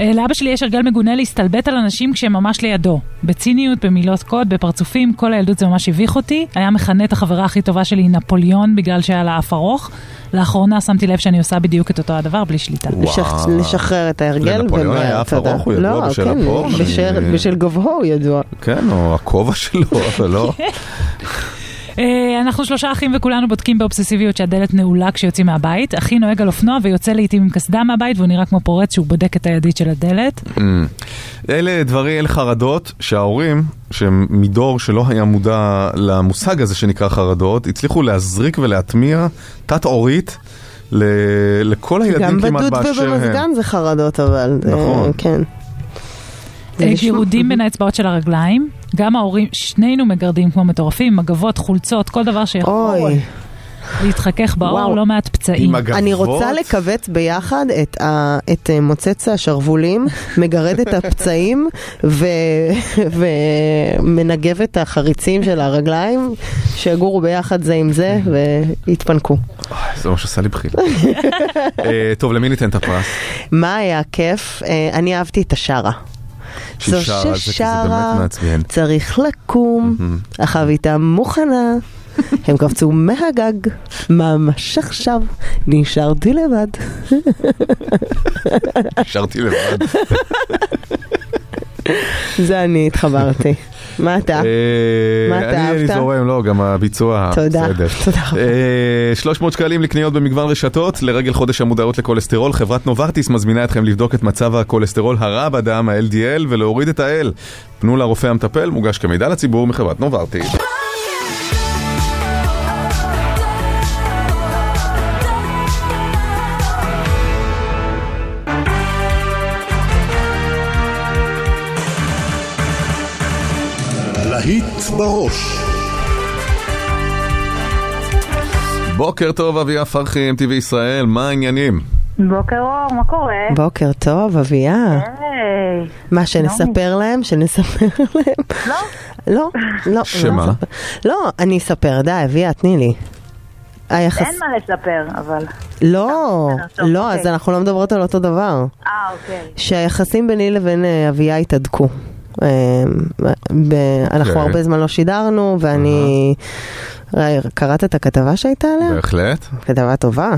אה, לאבא שלי יש הרגל מגונה להסתלבט על אנשים כשהם ממש לידו. בציניות, במילות קוד, בפרצופים, כל הילדות זה ממש הביך אותי. היה מכנה את החברה הכי טובה שלי נפוליאון בגלל שהיה לה אף ארוך. לאחרונה שמתי לב שאני עושה בדיוק את אותו הדבר בלי שליטה.
לשח- לשחרר את ההרגל.
לנפוליאון
ומהר,
היה אף
תודה.
ארוך, הוא ידוע
לא,
בשל
כן,
הפור, אני-
בשל- בשל גובהו הוא ידוע.
כן, או הכובע שלו, אבל לא.
אה, אנחנו שלושה אחים וכולנו בודקים באובססיביות שהדלת נעולה כשיוצאים מהבית. אחי נוהג על אופנוע ויוצא לעיתים עם קסדה מהבית והוא נראה כמו פורץ שהוא בודק את הידית של הדלת.
אמ. אלה דברים, אלה חרדות שההורים, שהם מדור שלא היה מודע למושג הזה שנקרא חרדות, הצליחו להזריק ולהטמיע תת-עורית ל- לכל
גם
הילדים כמעט
בדוד
באשר הם.
ובמזגן זה חרדות, אבל... זה-
נכון.
כן. זה
אה,
נשמע-
גירודים בין האצבעות של הרגליים. גם ההורים, שנינו מגרדים כמו מטורפים, מגבות, חולצות, כל דבר שיכול להתחכך
וואו.
באור, לא מעט פצעים.
אני רוצה לכווץ ביחד את, ה, את אה, מוצץ השרוולים, מגרד את הפצעים ו, ומנגב את החריצים של הרגליים, שיגורו ביחד זה עם זה
כן.
ויתפנקו.
זה מה שעשה לי בחילה. אה, טוב, למי ניתן את הפרס?
מה היה כיף? אה, אני אהבתי את השרה.
שהיא
זו
שרה, זה- כי זה
ששרה,
באמת מעצבן. Mm-hmm.
צריך לקום, החביתה מוכנה. הם קפצו מהגג, ממש עכשיו, נשארתי לבד.
נשארתי לבד.
זה אני התחברתי. מה אתה?
אה,
מה אתה
אני- אני
אהבת?
זורם, לא, גם הביצוע.
תודה,
בסדר.
תודה
אה, 300 שקלים לקניות במגוון רשתות, לרגל חודש המודעות לכולסטרול, חברת נוברטיס מזמינה אתכם לבדוק את מצב הכולסטרול הרע בדם, ה-LDL, ולהוריד את ה-L. פנו לרופא המטפל, מוגש כמידע לציבור מחברת נוברטיס.
להיט בראש.
בוקר טוב, אביה פרחי, MTV ישראל, מה העניינים?
בוקר אור, מה קורה?
בוקר טוב,
אה.
אביה.
היי.
מה, שנספר להם? שנספר להם? לא. לא, לא.
שמה?
לא נספר. לא, אני אספר, די, אביה, תני לי. היחס...
אין מה לספר, אבל...
לא,
טוב,
לא,
אוקיי.
אז אנחנו לא מדברות על אותו דבר.
אה, אוקיי.
שהיחסים ביני לבין אה, אביה התהדקו. אה, ב- אנחנו
אוקיי.
הרבה זמן לא שידרנו, ואני... ראי, קראת את הכתבה שהייתה עליה?
בהחלט.
כתבה טובה.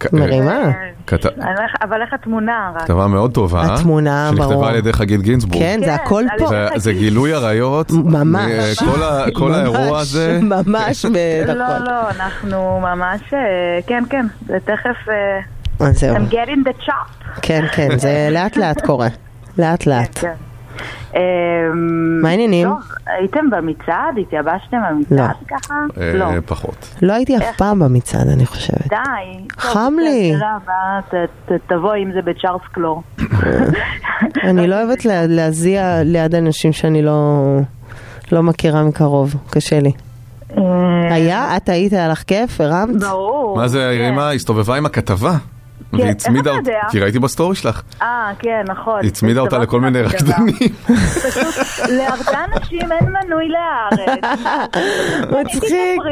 כ-
מרימה.
אה.
כת-
אבל איך- אבל איך התמונה רק?
כתבה מאוד טובה.
התמונה, ברור.
שנכתבה על ידי חגית גינזבורג.
כן, זה הכל
זה-
פה.
זה גילוי עריות.
ממש.
מ- כל ה- כל
ממש,
האירוע הזה.
ממש
לא,
בדקות.
לא, אנחנו ממש... אה, כן, כן, זה תכף... אה,
אז זהו.
I'm getting the chop.
כן, כן, זה לאט לאט קורה. לאט לאט.
כן. אמ,
מה העניינים?
טוב, הייתם במצעד? התייבשתם במצעד
לא.
ככה?
אה, פחות.
לא הייתי אף פעם במצעד, אני חושבת.
די. טוב,
חם לי.
השאלה הבאה, ת- ת- תבואי עם זה בצ'ארלס קלור.
אני לא אוהבת לה- להזיע ליד אנשים שאני לא... לא מכירה מקרוב, קשה לי. היה? את היית, היה לך כיף? הרמת?
ברור. כן.
מה זה הרימה? הסתובבה עם הכתבה. והיא הצמידה
איך אתה
אותה,
יודע?
כי ראיתי בסטורי שלך.
אה, כן, נכון.
היא הצמידה אותה לכל מיני רקדנים.
להרבה אנשים אין מנוי להארץ. מצחיק.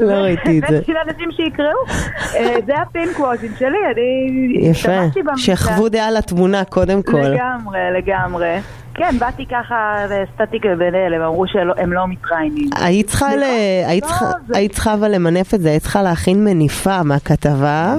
לא ראיתי את זה.
בשביל אנשים שיקראו. אה, זה הפינק וושינג שלי, אני...
יפה,
השתמשתי במבצע.
שיחוו דעה לתמונה קודם כל.
לגמרי, לגמרי. כן, באתי ככה סטטיק ובן-אל, הם אמרו שהם לא מתראיינים.
היית צריכה, ל...
לא-
היית צריכה, היית צריכה אבל למנף את זה, היית צריכה להכין מניפה מהכתבה,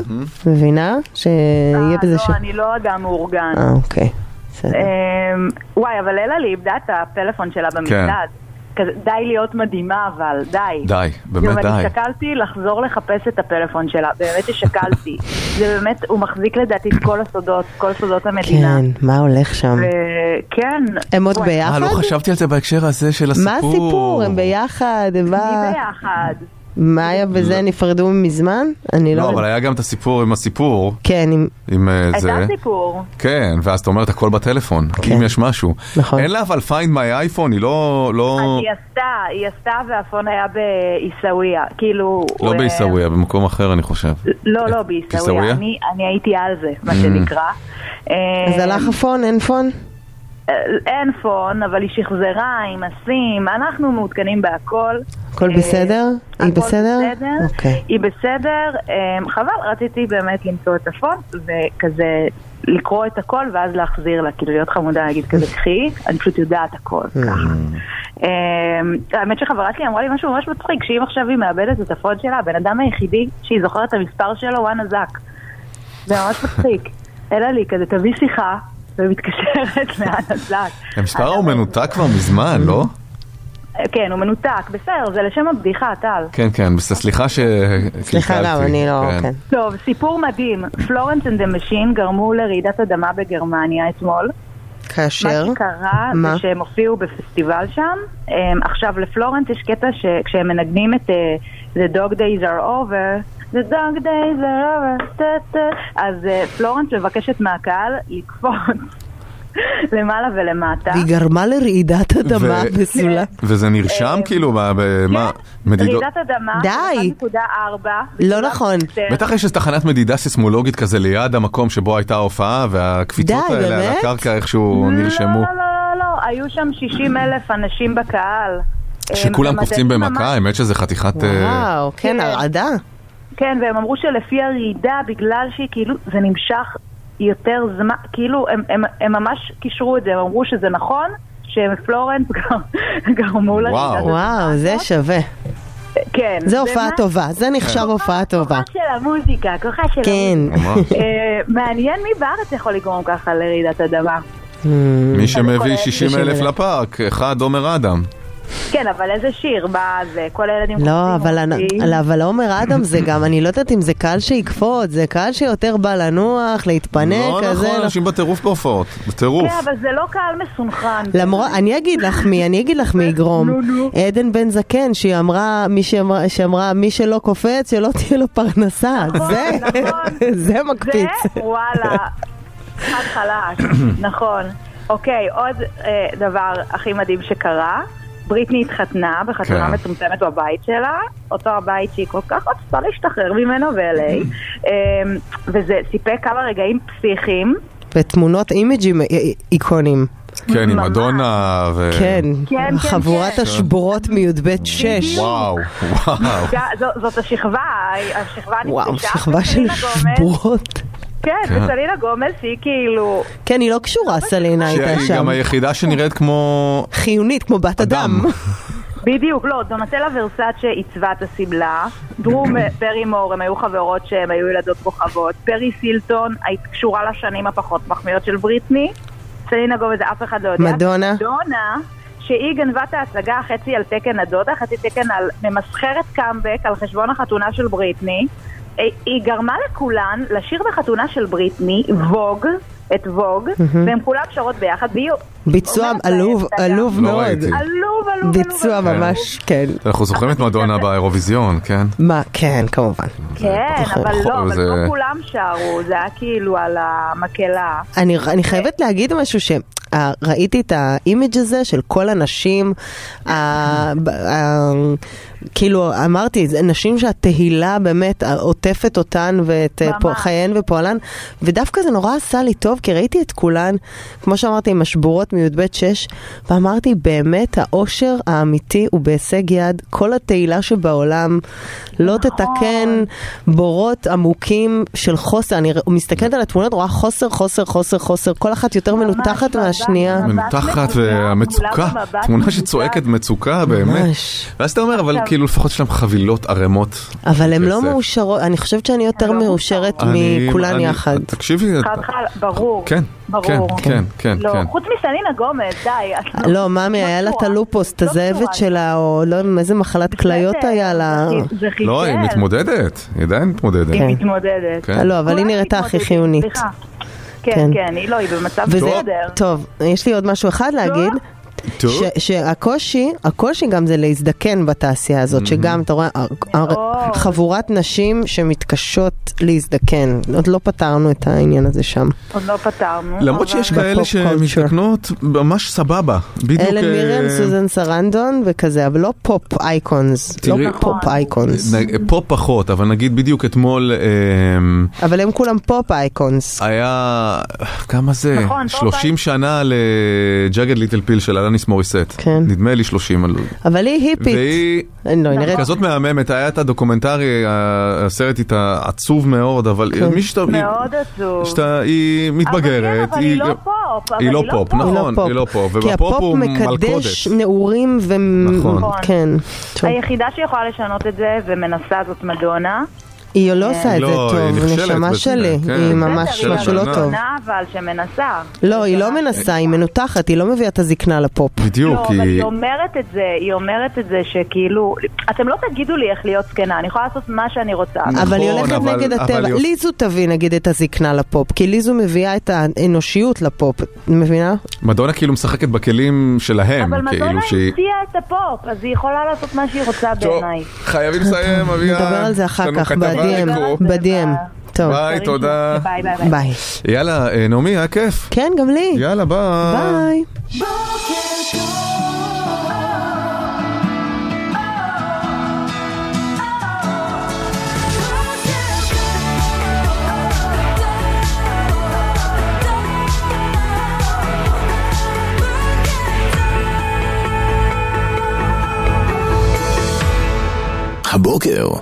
מבינה? שיהיה
לא,
בזה ש...
אני לא אדם מאורגן.
אה, אוקיי. בסדר.
אמ, וואי, אבל אלה לי איבדה את הפלאפון שלה במסעד. כזה, די להיות מדהימה, אבל די.
די, באמת
יום,
די.
אני שקלתי לחזור לחפש את הפלאפון שלה, באמת ששקלתי. זה באמת, הוא מחזיק לדעתי את כל הסודות, כל סודות המדינה.
כן, מה הולך שם?
וכן.
הם עוד
וואי.
ביחד?
אה, לא חשבתי על זה בהקשר הזה של הסיפור.
מה הסיפור? הם ביחד? הם בא-
ביחד.
מאיה וזה נפרדו מזמן? אני לא...
לא, אבל היה גם את הסיפור עם הסיפור.
כן, עם...
עם אה, זה.
הייתה סיפור.
כן, ואז אתה אומר את הכל בטלפון, כי
כן.
אם יש משהו. נכון. אין לה אבל find my iPhone, היא לא... לא...
היא עשתה, היא עשתה והפון היה בעיסאוויה, כאילו...
לא
אה,
בעיסאוויה, במקום אחר אני חושב.
לא, לא, בעיסאוויה.
בעיסאוויה?
אני- אני הייתי על זה, מה
Mm.
שנקרא.
אז
אה,
הלך הפון, אין פון?
אה, אין פון, אבל היא שחזרה עם הסים, אנחנו מעודכנים בהכל.
הכל
אה,
בסדר? היא
הכל
בסדר? אוקיי.
היא בסדר, אה, חבל, רציתי באמת למצוא את הפון, וכזה לקרוא את הכל ואז להחזיר לה, כאילו להיות חמודה, להגיד כזה, קחי, אני פשוט יודעת הכל. אה, האמת שחברה שלי אמרה לי משהו ממש מצחיק, שאם עכשיו היא מאבדת את הפון שלה, הבן אדם היחידי שהיא זוכרת את המספר שלו, וואנה זק. זה ממש מצחיק. אלא לי, כזה, תביא שיחה, ומתקשרת לאנה זק.
המספר הוא מנותק כבר מזמן, לא?
אה, כן, הוא מנותק, בסדר, זה לשם הבדיחה, טל.
כן, כן, בס- סליחה ש...
סליחה, לא, אני לא- כן.
טוב, סיפור מדהים. פלורנס אנד המשין גרמו לרעידת אדמה בגרמניה אתמול.
כאשר?
מה שקרה
מה?
זה שהם הופיעו בפסטיבל שם. הם, עכשיו, לפלורנס יש קטע שכשהם מנגנים את אה, The Dog Days are over, The Dog Days are over, טה, טה, אז אה, פלורנס מבקשת מהקהל לקפוץ למעלה ולמטה.
היא גרמה לרעידת אדמה
ו-
בסולה.
וזה נרשם כאילו, מה- במה? מדידות?
רעידת אדמה,
די.
1.4.
לא נכון.
בטח יש איזו תחנת מדידה סיסמולוגית כזה ליד המקום שבו הייתה ההופעה, והקפיצות
די,
האלה על
באמת?
הקרקע איכשהו נרשמו.
לא, לא, לא, לא, היו שם 60 אלף אנשים בקהל.
אה, שכולם
הם-
קופצים
המדענים
במכה, האמת שזה חתיכת... אה,
וואו, כן, הרעדה.
כן, והם אמרו שלפי הרעידה, בגלל שהיא כאילו, זה נמשך יותר זמן, כאילו, הם, הם, הם ממש קישרו את זה, הם אמרו שזה נכון, שפלורנס גר- גרמו לרעידה. הזאת.
וואו, זה שווה.
כן.
זה הופעה
ומה-
טובה, זה
כן.
נחשב הופעה טובה.
של המוזיקה, כוחה של
כן.
המוזיקה.
ממש.
אה, מעניין מי בארץ יכול לגרום ככה לרעידת אדמה.
מי שמביא
כולל-
60 אלף
60,000.
לפארק, אחד עומר אדם.
כן, אבל איזה שיר, מה זה, כל הילדים
לא, אבל
אותי.
אני- לא, אבל עומר אדם זה גם, אני לא יודעת אם זה קהל שיקפוץ, זה קהל שיותר בא לנוח, להתפנק,
לא
כזה.
נכון,
לא-
אנשים בטירוף בהופעות, בטירוף.
כן, אבל זה לא קהל מסונכרן.
למרות, אני אגיד לך מי, אני אגיד לך מי יגרום. עדן בן זקן, שהיא אמרה, מי שאמרה, שאמרה, מי שלא קופץ, שלא תהיה לו פרנסה. זה, זה מקפיץ.
נכון, זה, וואלה, חד חלש, נכון. אוקיי, עוד אה, דבר הכי מדהים שקרה, בריטני התחתנה בחתונה
כן.
מצומצמת בבית שלה, אותו הבית שהיא כל כך רצתה להשתחרר ממנו ב-LA, אה, וזה סיפק כמה רגעים פסיכיים.
ותמונות אימג'ים אי- איקונים.
כן, עם אדונה ו...
כן,
כן,
חבורת
כן.
השבורות מי"ב 6.
וואו, וואו.
ז- זאת השכבה, השכבה
וואו,
נפגשה.
שכבה של
וסלינה גומז-
שבורות.
כן,
כן.
וסלינה גומז היא כאילו...
כן, היא לא קשורה, סלינה הייתה
שהיא
שם.
גם היחידה שנראית כמו...
חיונית, כמו בת אדם.
בדיוק, לא, דונטלה ורסאצ'ה עיצבה את השמלה, דרום פרי מור, הם היו חברות שהן היו ילדות כוכבות, פרי סילטון היית קשורה לשנים הפחות מחמיאות של בריטני, סלינה גומז, אף אחד לא יודע.
מדונה.
מדונה, שהיא גנבה את ההצגה חצי על תקן הדודה, חצי תקן על ממסחרת קאמבק על חשבון החתונה של בריטני. היא- היא גרמה לכולן לשיר בחתונה של בריטני, ווג, את ווג,
מהמם.
והן כולן שרות ביחד, והיא
ביצוע עלוב, עלוב
לא
מאוד.
ראיתי. עלוב,
עלוב. ביצוע
עלוב.
ממש, כן.
אנחנו זוכרים את מדונה באירוויזיון, כן?
מה, כן, כמובן.
כן,
פחות-
אבל לא, אבל
זה-
לא כולם שרו, זה היה כאילו על המקהלה.
אני, אני חייבת להגיד משהו ש... אה, ראיתי את האימג' הזה של כל הנשים, ה- ב- ה- כאילו אמרתי, זה נשים שהתהילה באמת עוטפת אותן ואת אה, פוע- חייהן ופועלן, ודווקא זה נורא עשה לי טוב, כי ראיתי את כולן, כמו שאמרתי, עם השבורות מי"ב 6, ואמרתי, באמת האושר האמיתי הוא בהישג יד, כל התהילה שבעולם לא תתקן בורות עמוקים של חוסר, אני ר- מסתכלת על התמונות, רואה חוסר, חוסר, חוסר, חוסר, כל אחת יותר מנותחת מהשנייה.
מנותחת והמצוקה,
כולם במבט
תמונה שצועקת מצוקה באמת. ואז אתה אומר, אבל
עכשיו-
כאילו לפחות יש להם חבילות ערמות.
אבל הן לא
כסף.
מאושרות, אני חושבת שאני יותר מאושרת
אני-
מכולן
אני-
יחד.
תקשיבי, את-
חד חד, ברור.
כן,
ברור.
כן, כן, כן,
לא,
כן.
חוץ מסלינה גומז, די. את-
לא, מאמי, היה לה את הלופוס, את הזאבת שלה, או לא יודעת איזה מחלת כליות היה לה.
זה חיסל.
לא, היא מתמודדת, היא עדיין מתמודדת.
היא מתמודדת.
כן.
לא, אבל היא נראתה הכי חיונית.
סליחה. כן,
כן.
כן, היא לא, היא במצב
וזה-
בסדר.
טוב, יש לי עוד משהו אחד להגיד.
טוב.
ש- שהקושי, הקושי גם זה להזדקן בתעשייה הזאת, שגם אתה רואה הר- הר- חבורת נשים שמתקשות להזדקן. עוד לא פתרנו את העניין הזה שם.
עוד לא פתרנו.
למרות
אבל-
שיש כאלה שמזדקנות ממש סבבה. בדיוק...
אלן
אה,
מירם, סוזן סרנדון וכזה, אבל לא פופ אייקונס. לא
תראי-
פופ
נכון.
אייקונס.
נ- פה פחות, אבל נגיד בדיוק אתמול אה,
אבל הם כולם פופ אייקונס.
היה, אה, כמה זה?
נכון, פה
30 שנה לג'אגד ליטל פיל של אלניס מוריסט. כן. נדמה לי 30. אני לא-
אבל היא היפית.
והיא
לא,
נכון.
היא נראית...
כזאת מהממת, היה את הדוקומנטרי, ה- הסרט איתה עצוב מאוד, אבל
כן.
מי שאתה...
מאוד עצוב.
שאתה, היא מתבגרת,
אבל היא לא פופ, אבל
היא לא פופ, נכון,
פופ.
היא לא פופ,
כי
ובפופ
הפופ
הוא מלכודת.
מקדש נעורים ו...
נכון.
כן. טוב.
היחידה שיכולה לשנות את זה ומנסה זאת מדונה. כן.
היא לא עושה את זה
לא, היא
טוב,
נכשלת
נשמה
בזה,
שלי.
כן.
היא ממש
בסדר,
משהו לא טוב.
מדונה אבל שמנסה.
לא, היא לא מנסה, היא מנותחת, היא לא מביאה את הזקנה לפופ.
בדיוק,
לא, אבל היא אומרת את זה, היא אומרת את זה שכאילו, אתם לא תגידו לי איך להיות זקנה, אני יכולה לעשות מה שאני רוצה.
אבל
נכון,
היא הולכת נגד הטבע. ליזו תביא נגיד את הזקנה לפופ, כי ליזו מביאה את האנושיות לפופ, את מבינה?
מדונה כאילו משחקת בכלים שלהם,
אבל מדונה
כאילו שהיא...
המציאה את הפופ, אז היא יכולה לעשות מה שהיא רוצה בעיניי.
חייבים לסיים, אביה.
נדבר על זה אחר
יש לנו
כך,
כתבה
ב-DM.
לקרוא.
ב-DM. טוב.
ביי, תודה.
ביי, ביי,
ביי.
יאללה, אה, נעמי, היה כיף.
כן, גם לי.
יאללה, ביי.
ביי.
הבוקר